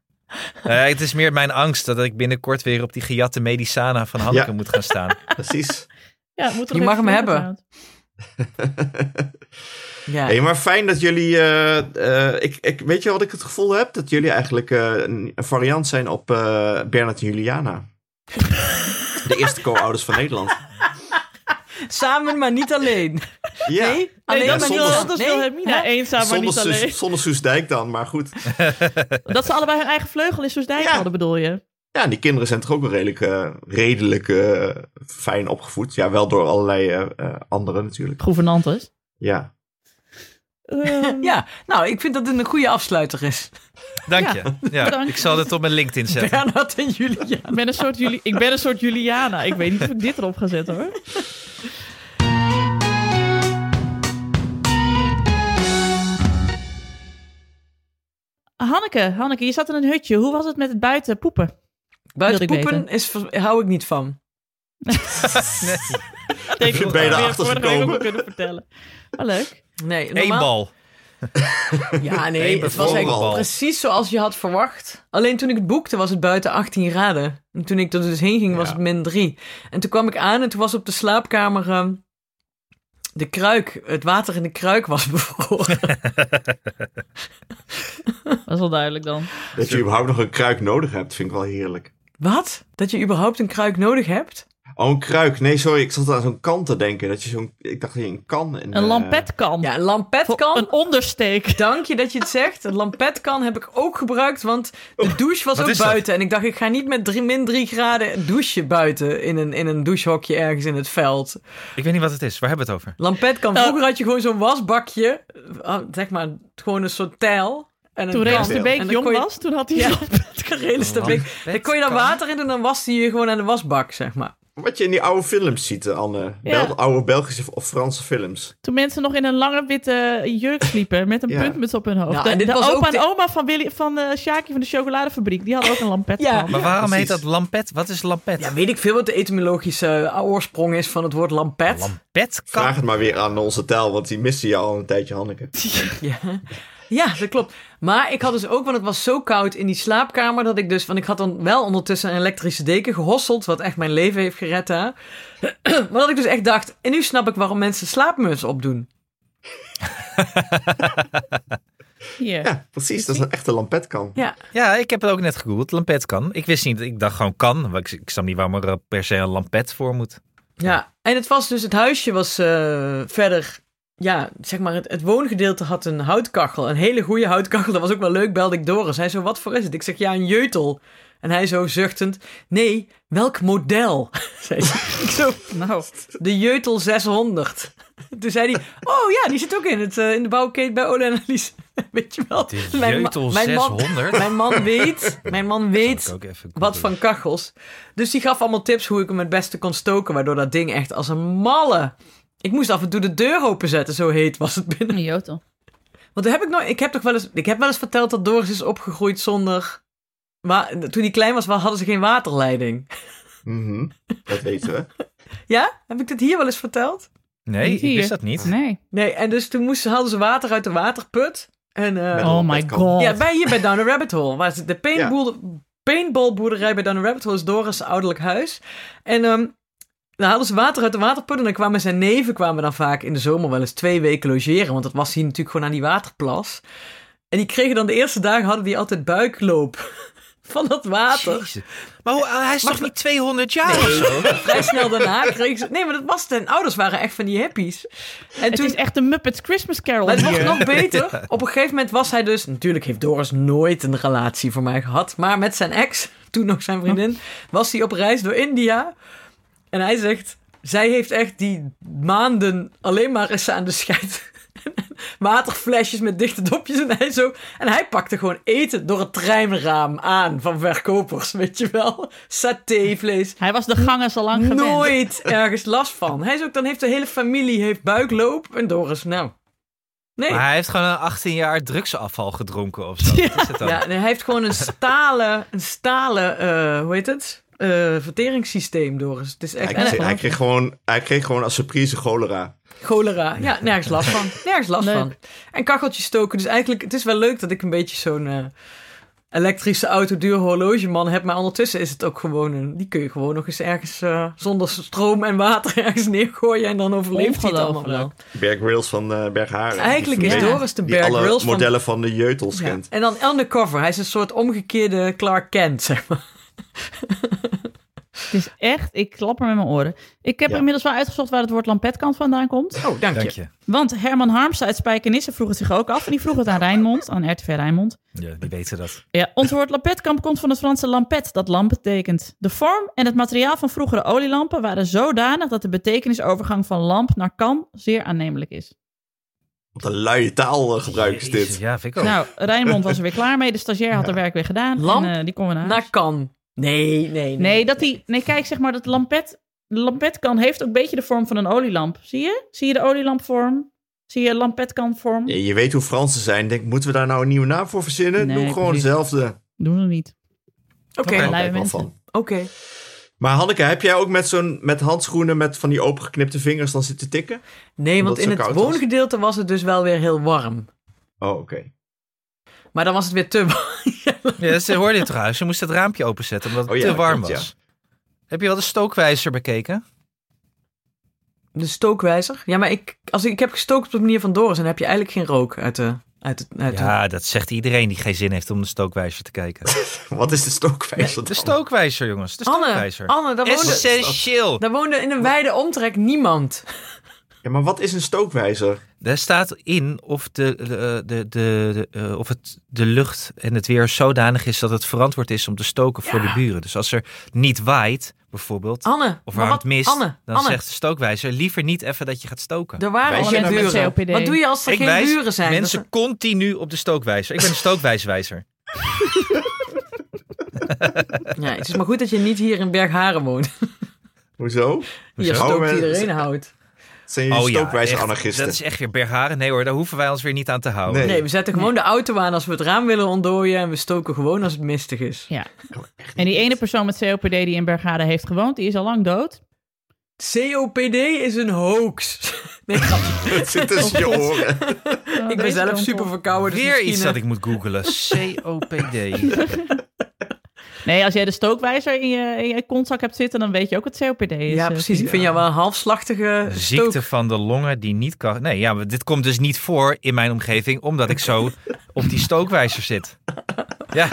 Nou ja, het is meer mijn angst dat ik binnenkort weer op die gejatte medicana van Hanneke
Ja.
moet gaan staan.
Precies.
Ja, moet er
Je
nog
mag
even
hem hebben.
doorgaan.
Ja.
hey, maar fijn dat jullie... eh, eh, ik, ik, weet je wat ik het gevoel heb? Dat jullie eigenlijk eh, een een variant zijn op eh Bernard en Juliana. De eerste co-ouders van Nederland.
Samen, maar niet alleen.
Ja.
Nee?
Nee,
Alleen
dat
maar
is
zonder-
wil, dat
nee.
wil Hermina eenzaam, maar
Zonder,
niet alleen.
Suus, zonder Suus Dijk dan, maar goed.
Dat ze allebei hun eigen vleugel in Soesdijk
Ja.
hadden, bedoel je?
Ja, die kinderen zijn toch ook wel redelijk, eh, redelijk eh, fijn opgevoed. Ja, wel door allerlei eh, eh, anderen natuurlijk.
Gouvernantes.
Ja.
Ehm,
Ja, nou, ik vind dat het een goede afsluiter is.
Dank
Ja,
je. Ja,
bedankt.
ik zal dit op mijn LinkedIn zetten.
Bernhard en Julia.
Ik ben, een soort Juli- ik ben een soort Juliana. Ik weet niet of ik dit erop ga zetten hoor. Hanneke, Hanneke, je zat in een hutje. Hoe was het met het buiten poepen?
Buiten
Wilde ik
poepen
weten.
is, vers- hou ik niet van.
Denk
je benen
dat we
achter
vorige week ook
gekomen?
al kunnen vertellen. Maar leuk.
Nee,
Eén
normaal-
bal.
Ja,
Eén
nee, het was
bevroren
eigenlijk
bal.
precies zoals je had verwacht. Alleen toen ik het boekte was het buiten 18 graden. En toen ik er dus heen ging was het min 3. En toen kwam ik aan en toen was op de slaapkamer ehm, de kruik, het water in de kruik was bevroren.
Dat is wel duidelijk dan.
Dat je überhaupt nog een kruik nodig hebt, vind ik wel heerlijk.
Wat? Dat je überhaupt een kruik nodig hebt?
Oh, een kruik. Nee, sorry, ik zat aan zo'n kant te denken. Dat je zo'n, ik dacht dat je een kan. In,
Een
eh,
lampetkan.
Ja, een lampet kan.
Een ondersteek.
Dank je dat je het zegt. Een lampetkan heb ik ook gebruikt, want de douche was
Wat
ook
is dat?
buiten. En ik dacht, ik ga niet met drie, min 3 graden douchen buiten in een, in een douchehokje ergens in het veld.
Ik weet niet wat het is. Waar hebben we het over?
Lampetkan, vroeger had je gewoon zo'n wasbakje, ah, zeg maar, gewoon een soort tijl. En een
Toen
kan.
Reels de
En
Beek
dan
jong
kon je-
was, toen had hij
Ja,
een lampetkan.
Reels de Beek. Daar kon je dan
Lampetkan?
water in doen en dan was die je gewoon aan de wasbak, zeg maar.
Wat je in die oude films ziet, eh, Anne.
Ja.
Bel- oude Belgische of Franse films.
Toen mensen nog in een lange witte jurk sliepen met een
Ja.
puntmuts op hun hoofd.
Ja,
de
en dit
de
was ook
opa en
de-
oma van, Willy, van eh Sjaakje van de chocoladefabriek, die hadden ook een lampet
Ja.
gehad.
Maar waarom
precies.
heet dat lampet? Wat is lampet?
Ja, weet ik veel wat de etymologische eh, oorsprong is van het woord lampet.
Lampetkap?
Vraag het maar weer aan onze taal, want die miste je al een tijdje, Hanneke.
Ja. ja, dat klopt. Maar ik had dus ook, want het was zo koud in die slaapkamer dat ik dus, want ik had dan wel ondertussen een elektrische deken gehosseld, wat echt mijn leven heeft gered daar. maar dat ik dus echt dacht, en nu snap ik waarom mensen slaapmuts opdoen.
Hier.
Ja, precies. Dat is een echte lampetkan.
Ja,
Ja, ik heb het ook net gegoogeld. Lampet kan. Ik wist niet, ik dacht gewoon kan. Maar Ik, ik snap niet waarom er eh, per se een lampet voor moet.
ja. En het was dus, het huisje was eh, verder, ja, zeg maar, het, het woongedeelte had een houtkachel, een hele goede houtkachel. Dat was ook wel leuk, belde ik Doris. Hij zo, wat voor is het? Ik zeg, ja, een jeutel. En hij zo zuchtend, nee, welk model? Zei ze. Ik zo,
Nou,
De Jeutel 600. Toen zei hij, oh ja, die zit ook in, het, eh, in de bouwkeet bij Ole en Alice. Weet je wel?
De
ma-
Jeutel
Man,
600?
mijn man weet, mijn man
Zal
weet
ik ook even
wat
googelen.
van kachels. Dus die gaf allemaal tips hoe ik hem het beste kon stoken, waardoor dat ding echt als een malle... Ik moest af en toe de deur openzetten, zo heet was het binnen.
een jotel.
Want heb ik, nooit, ik, heb toch wel eens, ik heb wel eens verteld dat Doris is opgegroeid zonder... Wa-
eh,
toen hij klein was, wa- hadden ze geen waterleiding.
Mhm, Dat weten we.
Ja? Heb ik dit hier wel eens verteld?
Nee,
Niet hier.
ik wist dat niet.
Nee.
Nee, en dus toen moesten, hadden ze water uit de waterput. En, eh,
Met-
Oh my
Dat kan.
god.
ja, bij hier bij Down the Rabbit Hole. Waar ze de paintball, paintballboerderij bij Down the Rabbit Hole is Doris' ouderlijk huis. En ehm dan hadden ze water uit de waterput. En dan kwamen zijn neven kwamen dan vaak in de zomer wel eens twee weken logeren. Want dat was hier natuurlijk gewoon aan die waterplas. En die kregen dan de eerste dagen hadden die altijd buikloop van dat water.
Jezus. Maar hoe, hij is
Mag
toch
ik-
niet 200 jaar of zo?
Vrij snel daarna kregen ze... Nee, maar dat was... Zijn ouders waren echt van die hippies. En
Het
toen,
is echt een Muppets Christmas Carol
Maar het wordt
hier.
nog beter. Op een gegeven moment was hij dus... Natuurlijk heeft Doris nooit een relatie voor mij gehad. Maar met zijn ex, toen nog zijn vriendin... was hij op reis door India. En hij zegt... Zij heeft echt die maanden alleen maar eens aan de scheid. Waterflesjes met dichte dopjes en hij zo. En hij pakte gewoon eten door het treinraam aan van verkopers, weet je wel. Satévlees,
Hij was de gangers al lang gewend.
nooit ergens last van. Hij is ook, dan heeft de hele familie heeft buikloop. En Doris, nou. Nee.
Maar hij heeft gewoon een 18 jaar drugsafval gedronken of zo. Wat is het dan?
Ja, nee, hij heeft gewoon een stalen, een stalen eh, hoe heet het? Eh, verteringssysteem, Doris. Het is echt
Hij, kreeg-
en-
hij, kreeg gewoon, hij kreeg gewoon als surprise cholera.
cholera. Ja, nergens last van. Nergens last
Leuk.
van. En kacheltjes stoken. Dus eigenlijk, het is wel leuk dat ik een beetje zo'n eh, elektrische auto duur horlogeman heb. Maar ondertussen is het ook gewoon een... Die kun je gewoon nog eens ergens eh, zonder stroom en water ergens neergooien. En dan overleeft hij het allemaal wel.
Ongelooflijk.
Berg Rails van eh Bergharen.
Eigenlijk is
Die
Doris de
Die
Bear
alle
Grylls van
modellen van de jeutels
Ja,
kent.
En dan undercover. Hij is een soort omgekeerde Clark Kent, zeg maar.
Het is echt, ik klapper met mijn oren. Ik heb
Ja.
inmiddels wel uitgezocht waar het woord lampetkant vandaan komt.
Oh, dank,
Dank
je.
je.
Want Herman Harmsen uit Spijkenisse vroeg het zich ook af. En die vroeg het aan Rijnmond, aan RTV Rijnmond.
Ja, die weten dat.
Ja, ons woord lampetkamp komt van het Franse lampet, dat lamp betekent. De vorm en het materiaal van vroegere olielampen waren zodanig dat de betekenisovergang van lamp naar kan zeer aannemelijk is.
Wat een luie taal eh, gebruik is
Jezus,
dit.
Ja, vind ik ook.
Nou, Rijnmond was er weer klaar mee. De stagiair had haar werk weer gedaan.
Lamp
en, eh, die kon weer naar huis.
Naar kan. Nee, nee, nee.
Nee, dat die, nee, kijk, zeg maar, dat lampet, de lampetkan heeft ook een beetje de vorm van een olielamp. Zie je? Zie je de olielampvorm? Zie je lampetkanvorm?
Je, je weet hoe Fransen zijn. Denk, moeten we daar nou een nieuwe naam voor verzinnen?
Nee,
Doe gewoon
precies.
hetzelfde.
Doen we niet.
Daar
Oké.
Oké,
hou
Luie
ik wel
mensen.
van.
oké.
Maar Hanneke, heb jij ook met, zo'n, met handschoenen met van die opengeknipte vingers dan zitten tikken?
Nee, want
Omdat
in
het zo
het
koud was.
woongedeelte was het dus wel weer heel warm.
Oh, oké.
Maar dan was het weer te warm.
Ja, ze hoorde het trouwens. Ze moest het raampje openzetten omdat het
Oh ja,
te warm
klopt, ja.
was. Heb je wel de stookwijzer bekeken?
De stookwijzer. Ja, maar ik, als ik, ik heb gestookt op de manier van Doris... en heb je eigenlijk geen rook uit de... Uit het, uit de-
Ja, dat zegt iedereen die geen zin heeft om de stookwijzer te kijken.
Wat is de stookwijzer
De
dan?
stookwijzer, jongens. De
Anne,
stookwijzer.
Anne daar, woonde,
Essentieel.
daar woonde in een wijde omtrek niemand.
Ja, maar wat is een stookwijzer?
Daar staat in of, de, eh, de, de, de, de, eh, of het, de lucht en het weer zodanig is dat het verantwoord is om te stoken voor de buren. Dus als er niet waait, bijvoorbeeld,
Anne,
of
maar
waar
wat,
het mist,
Anne,
dan
Anne,
zegt de stookwijzer liever niet even dat je gaat stoken.
er waren
Wijs
al
je
geen
nou met
buren.
COPD?
Wat doe je als er
Ik
geen
wijs
buren zijn? Dat
mensen
is-
continu op de stookwijzer. Ik ben een stookwijswijzer.
Ja, het is maar goed dat je niet hier in Bergharen woont.
Hoezo?
Je
Hoezo? Oh,
Oh,
stookt
maar-
iedereen hout.
Zijn jullie stookwijze
echt.
anarchisten?
Dat is echt weer Bergharen. Nee hoor, daar hoeven wij ons weer niet aan te houden.
Nee.
Nee, we zetten gewoon de auto aan als we het raam willen ontdooien. En we stoken gewoon als het mistig is.
Ja. En die ene persoon met COPD die in Bergade heeft gewoond, die is al lang dood.
COPD is een hoax. Nee, grapje.
Het zit tussen je oren.
Oh,
ik ben zelf super verkouden. Dus
Weer iets
misschien,
dat
eh,
ik moet googlen. COPD.
Nee, als jij de stookwijzer in je, in je kontzak hebt zitten, dan weet je ook wat COPD is.
Ja,
eh,
precies. Ik vind jou wel een halfslachtige
Ziekte
stook.
van de longen die niet kan... Nee, ja, maar dit komt dus niet voor in mijn omgeving... omdat ik zo op die stookwijzer zit. Ja,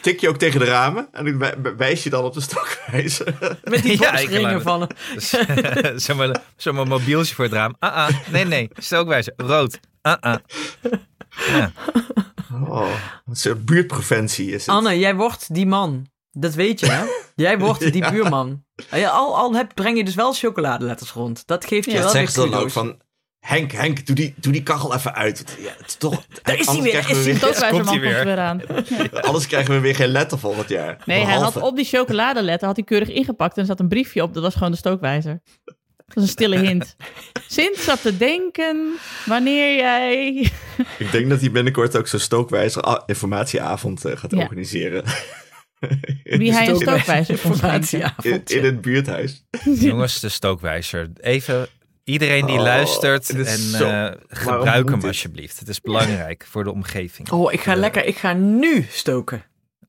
Tik je ook tegen de ramen en ik wij- wijs je dan op de stookwijzer.
Met die
Ja,
borstringen
ik-
van...
dus, zo'n mo- zo'n mobieltje voor het raam. Ah, ah, nee, nee, stookwijzer. Rood. Ah, ah.
Oh, wat een buurtpreventie is het.
Anne, jij wordt die man. Dat weet je, hè? Jij wordt die buurman. Ah, Ja, Al, al heb, breng je dus wel chocoladeletters rond. Dat geeft je
Ja,
wel weer
zeg ze dan
kilo's.
ook van... Henk, Henk, doe die, doe die kachel even uit. Want Ja, het is toch...
Daar is hij
anders
weer,
krijgen
daar
we
is
De stookwijzerman
Komt
komt
hij weer.
er weer aan.
weer- Anders krijgen we weer geen letter volgend jaar.
Nee, hij had
Behalve-
op die chocoladeletter had hij keurig ingepakt en er zat een briefje op. Dat was gewoon de stookwijzer. Dat was een stille hint. Sint zat te denken wanneer jij...
Ik denk dat hij binnenkort ook zo'n stookwijzer ah, informatieavond eh, gaat
Ja.
organiseren.
Wie hij een
Stook-
stookwijzer eh. kon schenken.
In,
informatieavond.
in het buurthuis.
Jongens, de stookwijzer. Even iedereen die
Oh,
luistert... en
dit is
eh,
zo- waarom
gebruik
moet
hem
dit?
alsjeblieft. Het is belangrijk voor de omgeving.
Oh, ik ga lekker, ik ga nu stoken.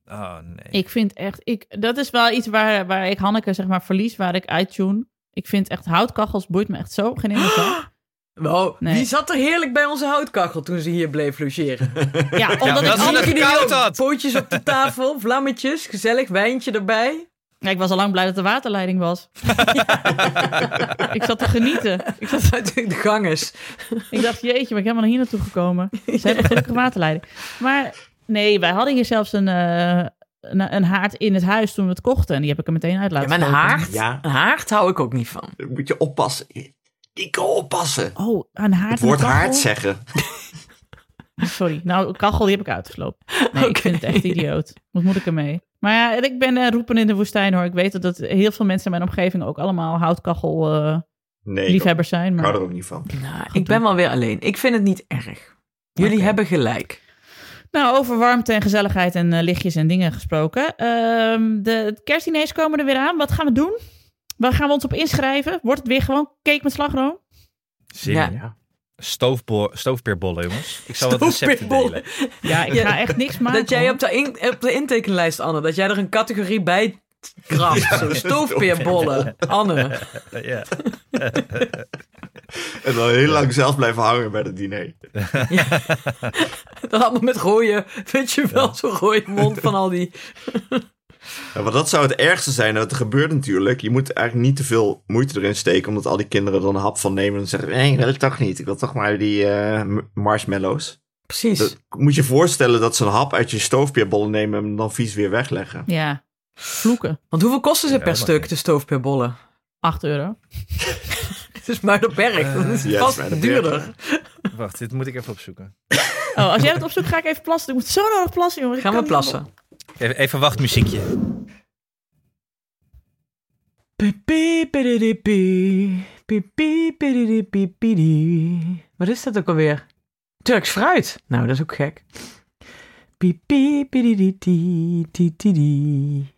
Oh, nee.
Ik vind echt... Ik, dat is wel iets waar, waar ik Hanneke zeg maar verlies, waar ik uittune. Ik vind echt houtkachels boeit me echt zo. Geen ene zak.
Wow,
Nee.
die zat er heerlijk bij onze houtkachel toen ze hier bleef logeren.
Ja,
dat
omdat ik
is
al-
het koud had.
Pootjes op de tafel, vlammetjes, gezellig wijntje erbij.
Ja, ik was al lang blij dat de waterleiding was. ik zat te genieten.
Ik zat natuurlijk de ganges.
Ik dacht, jeetje, ben ik helemaal naar hier naartoe gekomen. Ze hebben gelukkig waterleiding. Maar nee, wij hadden hier zelfs een, eh, een, een haard in het huis toen we het kochten. En die heb ik er meteen uit
Ja,
laten
maar een
koken.
haard,
Ja.
een haard hou ik ook niet van.
Dan moet je oppassen. Nico, oppassen.
Oh, een haard
Het
en
woord
een kachel?
haard zeggen.
Sorry, nou, kachel die heb ik uitgeslopen. Nee, ik
Oké.
vind het echt idioot. Wat moet ik ermee? Maar ja, en ik ben eh, roepen in de woestijn hoor. Ik weet dat, dat heel veel mensen in mijn omgeving ook allemaal houtkachel eh,
Nee, ik
liefhebbers zijn.
hou
Maar...
er ook niet van.
Nou, ik ben wel weer alleen. Ik vind het niet erg. Jullie
Oké.
hebben gelijk.
Nou, over warmte en gezelligheid en eh, lichtjes en dingen gesproken. Ehm, de het kerstdiners komen er weer aan. Wat gaan we doen? Waar gaan we ons op inschrijven? Wordt het weer gewoon cake met slagroom?
Zin
Ja.
in. Stoofbo- Stoofpeerbollen, jongens. Ik zal wat recepten
Stoofpeerbollen.
delen.
Ja, ik ga echt niks maken.
Dat jij
hoor.
op de, in- op de intekenlijst, Anne, dat jij er een categorie bij kraft. Zo, stoofpeerbollen. Anne.
Eh, Ja.
En dan heel lang zelf blijven hangen bij het diner.
Dat allemaal met rode, weet je wel, zo'n rode mond van al die...
Ja, want dat zou het ergste zijn. Dat gebeurt natuurlijk. Je moet eigenlijk niet te veel moeite erin steken. Omdat al die kinderen er een hap van nemen. En zeggen: Nee, ik wil het toch niet. Ik wil toch maar die eh, m- marshmallows.
Precies.
Dat- moet je voorstellen dat ze een hap uit je stoofpeerbollen nemen. En hem dan vies weer wegleggen.
Ja, vloeken.
Want hoeveel kosten ze
Ja,
per
dat
stuk,
mag
de stoofpeerbollen?
8 euro.
Het is Muidenberg, dat is
ja, het is
vast
Muidenberg.
duurder.
Wacht, dit moet ik even opzoeken.
Oh, als jij het opzoekt, ga ik even plassen. Ik moet zo nodig plassen, jongens. Ik
Gaan we
kan niet
plassen.
Even, even wachtmuziekje.
Wat is dat ook alweer? Turks fruit. Nou, dat is ook gek. Pipi-pidi-di-di-di-di-di.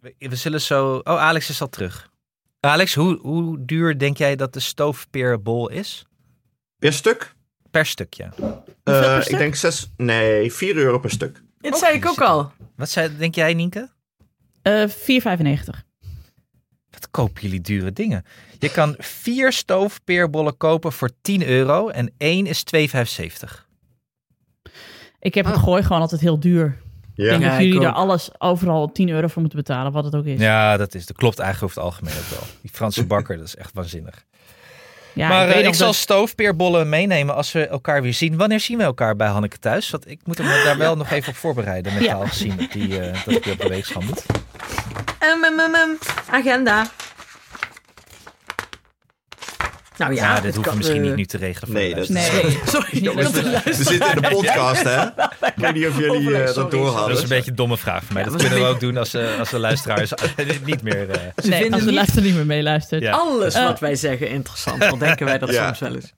We, we zullen zo... Oh, Alex is al terug. Alex, hoe, hoe duur denk jij dat de stoofpeerbol is?
Per stuk?
Per stukje.
Hoeveel per
Eh,
stuk?
ik denk 6. Nee, 4 euro per stuk.
Dat zei ik ook al.
Wat zei, denk jij, Nienke?
doen. Eh, 4,95.
Wat kopen jullie dure dingen? Je kan vier stoofpeerbollen kopen voor 10 euro en één is 2,75.
Ik heb het gooi gewoon altijd heel duur. Ik denk
Ja.
Ja,
dat
ik
jullie daar
ook.
alles overal 10 euro voor moeten betalen, wat het ook is.
Ja, dat, is, dat klopt eigenlijk over het algemeen ook wel. Die Franse bakker, dat is echt waanzinnig.
Ja,
maar eh,
weet
ik,
nog
zal
dat-
stoofpeerbollen meenemen als we elkaar weer zien. Wanneer zien we elkaar bij Hanneke thuis? Want ik moet hem daar wel nog even op voorbereiden. Met
Ja.
al gezien dat, die, eh, dat ik weer op de weegschaal moet.
Um, Mm, mm, mm, mm. Agenda. Nou ja,
Ja,
het
dit hoeven
kan,
we misschien
eh,
niet nu te regelen. voor
nee,
de
dat-
luisteraars.
Nee.
Sorry,
niet
jongens.
leuk.
de
We
luisteraar-
zitten in de podcast, hè? Ik weet niet of jullie eh,
Sorry,
dat doorhadden.
dat is een beetje een domme vraag voor mij.
Ja,
dat
maar-
kunnen we ook doen als, eh, als de luisteraars niet meer... eh,
Ze
nee,
vinden
als de
niet
luister niet meer meeluistert.
Ja.
alles
Eh.
wat wij zeggen interessant. Dan denken wij dat
Ja.
soms wel eens.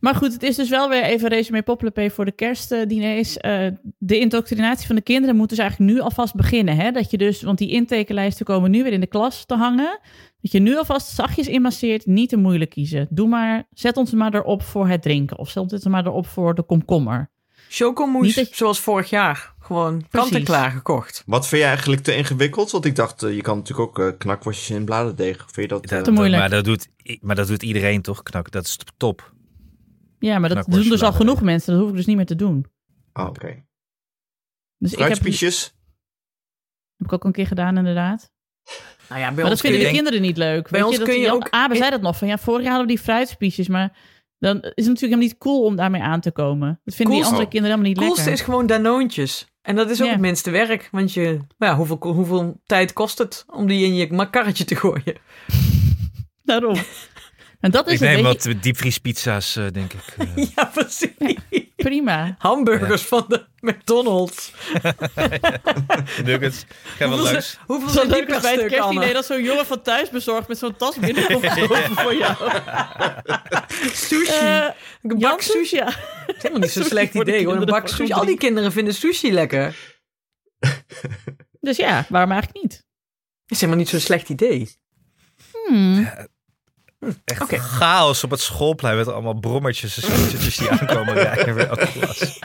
Maar goed, het is dus wel weer even resume Poppelepé voor de kerstdiners. Eh, de indoctrinatie van de kinderen moet dus eigenlijk nu alvast beginnen. Hè? Dat je dus, want die intekenlijsten komen nu weer in de klas te hangen. Dat je nu alvast zachtjes inmasseert, niet te moeilijk kiezen. Doe maar, zet ons maar erop voor het drinken. Of zet ons maar erop voor de komkommer.
Chocomousse,
Niet dat je-
zoals vorig jaar. Gewoon kant en
Precies.
klaar gekocht.
Wat vind je eigenlijk te ingewikkeld? Want ik dacht, eh, je kan natuurlijk ook eh, knakworstjes in bladerdeeg. Vind je dat... eh,
dat-
Te moeilijk.
Maar dat, doet, i- maar dat doet iedereen toch, Knak? Dat is top.
Ja, maar dat
Knakworst
doen dus al
laten
genoeg mensen. Dat hoef ik dus niet meer te doen.
ah, oké. Okay.
Dus ik heb, heb
Kruidspiesjes?
ik ook een keer gedaan, inderdaad.
Nou ja, bij
Maar
ons
dat vinden de
kun je-
kinderen niet leuk.
Bij
Weet
ons
je, dat Ah,
kun je
Jan
ook-
Abe zei dat nog. Van ja, vorig jaar hadden we die fruitspiesjes. Maar dan is het natuurlijk helemaal niet cool om daarmee aan te komen. Dat vinden die
Coolste-
andere kinderen helemaal
Het
niet
coolste
lekker.
is gewoon danoontjes. En dat is ook
Ja.
het minste werk. Want je, nou ja, hoeveel, hoeveel tijd kost het om die in je makkarretje te gooien?
Daarom. En dat
Ik
is een
neem
beetje
wat diepvriespizza's, eh, denk ik. eh.
Ja, precies.
prima.
Hamburgers van de McDonald's.
Nuggets. Ik
Hoeveel,
heb wel langs.
zijn- hoeveel
Zo
zijn die
leuk
per
als bij het
stuk,
kerstdiner
Anne?
dat zo'n jongen van thuis bezorgd met zo'n tas binnenkomt Eh, voor jou.
Sushi.
Eh,
een bak
Jansen?
sushi.
Ja.
Dat is helemaal niet zo'n
Sorry
slecht
voor de
idee. Gewoon een
kinderen
bak
van
sushi.
groep
Al die kinderen vinden sushi lekker.
Dus ja, waarom eigenlijk niet?
is helemaal niet zo'n slecht idee.
Hmm,
Echt
Oké.
chaos op het schoolplein met allemaal brommertjes en scootertjes die aankomen rijden Oh, bij elke klas.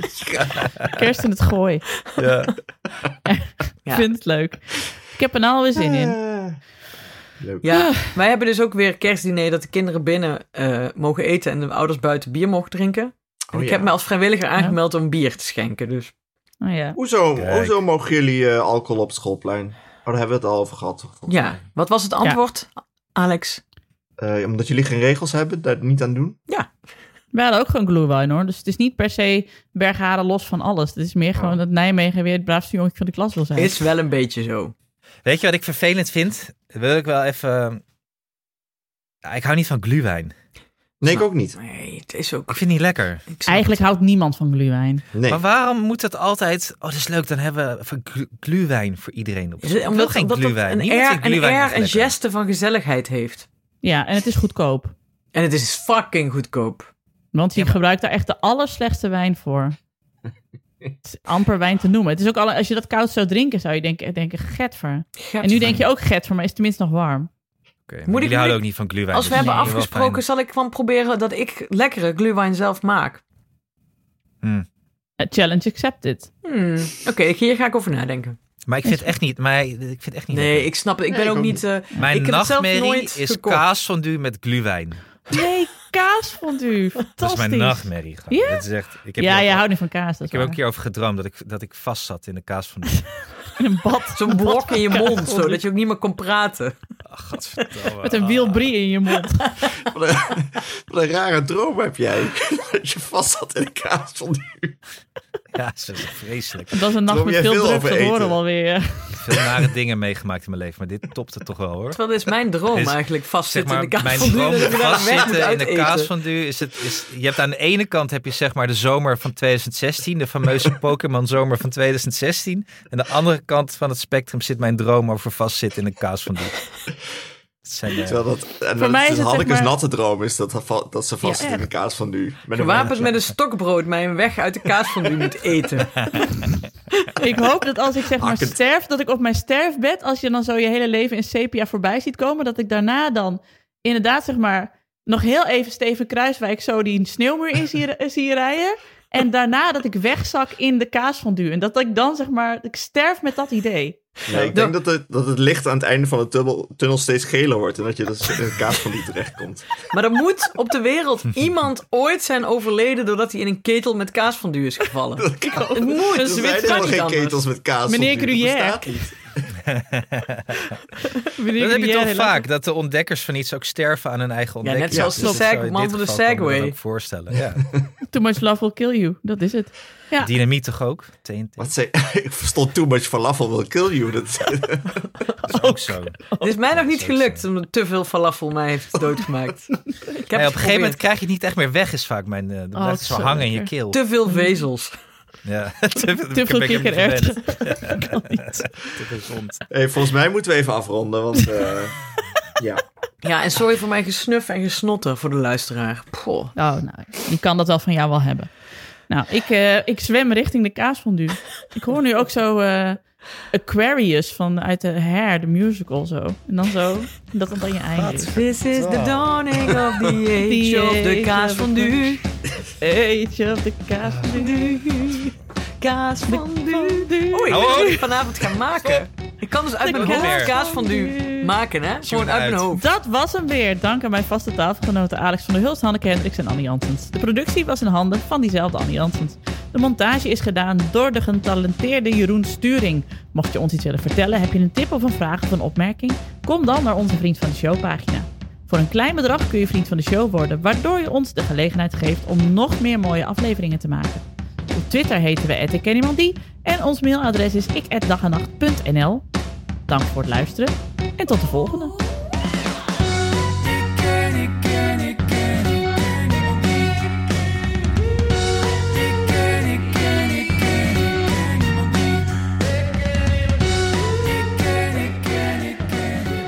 Kerst in het gooi. Ik
Ja.
Ja.
vind het leuk. Ik heb er nou alweer zin in.
Eh, leuk.
Ja, wij hebben dus ook weer kerstdiner dat de kinderen binnen eh, mogen eten en de ouders buiten bier mogen drinken. En
Oh,
ik
ja.
heb me als vrijwilliger aangemeld om bier te schenken. Dus
Oh ja.
Hoezo,
Kijk.
hoezo mogen jullie eh, alcohol op het schoolplein? Oh, daar hebben we het al over gehad. toch?
ja, wat was het antwoord, Alex?
Eh, omdat jullie geen regels hebben, daar niet aan doen?
We hadden ook gewoon glühwein hoor. Dus het is niet per se bergharen los van alles. Het is meer gewoon dat Nijmegen weer het braafste jongetje van de klas wil zijn.
Is wel een beetje zo.
Weet je wat ik vervelend vind? Wil ik wel even... Ja, ik hou niet van glühwijn.
Nee,
Nou,
ik ook niet.
Nee, het is ook...
Ik vind het niet lekker.
ik snap-
Eigenlijk houdt niemand van glühwein.
Nee.
Maar waarom moet dat altijd... Oh, dat is leuk. Dan hebben we van glu- glühwijn voor iedereen op.
Is het
Ik wil geen
omdat dat
glühwijn.
Een
Niemand
air,
vindt
een,
glühwijn
air
echt
een
lekker.
geste van gezelligheid heeft.
Ja, en het is goedkoop.
En het is fucking goedkoop.
Want je gebruikt daar echt de allerslechtste wijn voor. Het is amper wijn te noemen. Het is ook alle, als je dat koud zou drinken, zou je denken, denken getver. En nu denk je ook getver, maar is het tenminste nog warm.
Oké, maar
Moet ik-
jullie
moet
houden
ik-
ook niet van glühwijn.
Als we
dus
hebben
dat is wel fijn.
afgesproken, zal ik van proberen dat ik lekkere glühwein zelf maak.
Eh, Challenge accepted.
Hmm, Oké, hier ga ik over nadenken.
Maar ik vind het echt niet... Maar ik vind het echt niet
Nee,
lekker.
ik snap het. Ik
Nee,
ben
ik
ook
ook
niet... eh,
Mijn
ik heb het zelf
nachtmerrie
nooit
is
gekocht.
kaasfondue met glühwijn.
Nee, kaasfondue. Fantastisch.
Dat is mijn nachtmerrie. gast.
Ja?
Dat is echt, ik heb
Ja,
hier
je
ook-
houdt niet van kaas.
Ik
Dat
heb
is
ook
waar.
een keer over gedroomd dat ik, dat ik vast zat in de kaas van
in een bad.
Zo'n blok in je mond, zo,
Godverdomme.
dat je ook niet meer kon praten.
Met een wiel brie in je mond.
Wat een, wat een rare droom heb jij. dat je vast zat in de kaas van die...
Ja, ze is vreselijk.
Dat is een nacht
Droom jij
met veel
veel
drugs,
over
dat
eten?
horen we alweer.
Veel nare dingen meegemaakt in mijn leven, maar dit topte toch wel hoor.
Terwijl dit is mijn droom
Is-
eigenlijk,
Zeg
vastzitten
maar,
in de kaas
mijn
van Duur,
droom
dat ik daarna weg moet
vastzitten in de
uiteten.
kaas van du is het. Is, je hebt aan de ene kant heb je zeg maar de zomer van 2016, de fameuze Pokémon zomer van 2016. En de andere kant van het spectrum zit mijn droom over vastzitten in de kaas van du. Het zijn, eh,
Terwijl dat, en
Voor
dat
mij
is een
is het, zeg
Hanneke's
maar-
natte droom is dat, va- dat ze vast
Ja,
zit in de kaas van nu. Met een
Gewapend
wijntje.
met een stokbrood mij een weg uit de kaas van Duur moet eten.
Ik hoop dat als ik zeg maar
Hakken.
sterf, dat ik op mijn sterfbed, als je dan zo je hele leven in sepia voorbij ziet komen, dat ik daarna dan inderdaad zeg maar nog heel even Steven Kruiswijk zo die sneeuwmuur in zie, zie rijden. En daarna dat ik wegzak in de kaasfondue. En dat ik dan zeg maar, ik sterf met dat idee.
Nee, ik denk dat het, dat het licht aan het einde van de tunnel, tunnel steeds geler wordt. En dat je dus in de kaas van die terechtkomt.
Maar er moet op de wereld iemand ooit zijn overleden doordat hij in een ketel met kaas van Duur is gevallen.
Er
Het moet.
Een
Het
Zwitser
zijn
kan
helemaal
niet
geen
anders.
ketels met kaas van nu.
Meneer
Dat
Gruyère.
bestaat niet.
Meneer
Dat heb je
Guillet,
toch
helaas.
vaak, dat de ontdekkers van iets ook sterven aan hun eigen
net
ontdekking.
zoals
Dus dat
de seg-
zou in
man
dit
van de
geval kan ik me dat
Segway.
ook voorstellen. Ja.
Too much love will kill you. Dat is het. Ja.
Dynamiet toch ook? TNT.
Wat zei, ik verstond too much falafel will kill you. Dat,
Dat is ook zo.
Het is mij nog niet
zo is
gelukt,
het.
omdat te veel falafel mij heeft doodgemaakt. Ik heb het
Nee, op een gegeven moment
geprobeerd.
krijg je het niet echt meer weg, is vaak mijn. eh, Dan
Oh,
blijft
het
het
is
zo
zo
hangen in je
lekker.
keel.
Te veel vezels.
ja. te, te,
Te veel kikker en erwt. Kan niet.
Te gezond.
hey, volgens mij moeten we even afronden, want eh, ja.
Ja, en sorry voor mijn gesnuf en gesnotten voor de luisteraar. Poh.
Oh, nou, die kan dat wel van jou wel hebben. Nou, ik, eh, ik zwem richting de kaasfondue. Ik hoor nu ook zo eh, Aquarius van uit de Hair, de musical zo. En dan zo, dat dan dan je einde.
This is the dawning of the
The
age of
age
the
of
kaas
the-
van du.
Eetje op de kaasfondue.
Kaas van du.
Fondue.
Oei, ik
Hou
weet
op.
niet gaan maken. Ik kan dus uit
De
mijn hoofd
kaas
kaas
van
van du
du.
maken, hè? Gewoon uit mijn
uit.
hoofd.
Dat was hem weer. Dank aan mijn vaste tafelgenoten Alex van der Hulst, Hanneke Hendricks en Annie Jansens. De productie was in handen van diezelfde Annie Jansens. De montage is gedaan door de getalenteerde Jeroen Sturing. Mocht je ons iets willen vertellen, heb je een tip of een vraag of een opmerking? Kom dan naar onze Vriend van de Show pagina. Voor een klein bedrag kun je Vriend van de Show worden, waardoor je ons de gelegenheid geeft om nog meer mooie afleveringen te maken. Op Twitter heten we @ikkenniemandie en ons mailadres is ik@dagenacht.nl. Dank voor het luisteren en tot de volgende.
Ik ken, ik ken, ik ken, ik ken niemand die. Ik ken, ik ken, ik ken, ik ken niemand die. Ik ken, ik ken, ik ken, ik ken niemand die. Ik ken, ik ken, ik ken.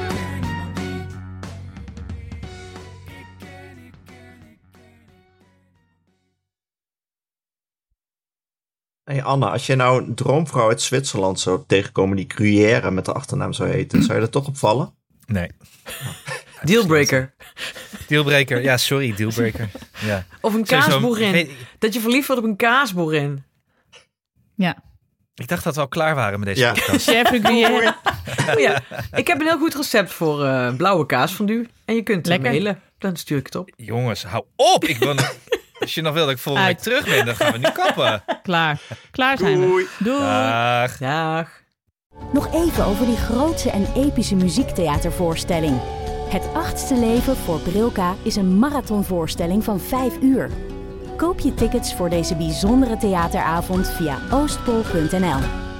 Hey Anna, als jij nou een droomvrouw uit Zwitserland zou tegenkomen die Gruyère met de achternaam zou heten, zou je dat toch opvallen?
Nee.
Dealbreaker.
Dealbreaker. Ja, sorry, dealbreaker. Ja.
Of een
Sowieso-
kaasboerin.
Weet-
Dat je verliefd wordt op een kaasboerin.
Ja.
Ik dacht dat we al klaar waren met deze
Ja.
podcast.
Chef de Gruyère.
Oh ja, ik heb een heel goed recept voor eh, blauwe kaas van du. En je kunt het
Lekker.
mailen. Dan stuur ik het op.
Jongens, hou op! Ik wil nog- Als je nog wil dat ik volgende week
Uit.
terug ben, dan gaan we nu kappen.
Klaar. Klaar zijn we.
Doei.
Doei.
Dag.
Dag.
Nog even over die grootse en epische muziektheatervoorstelling. Het achtste leven voor Brilka is een marathonvoorstelling van 5 uur. Koop je tickets voor deze bijzondere theateravond via oostpol.nl.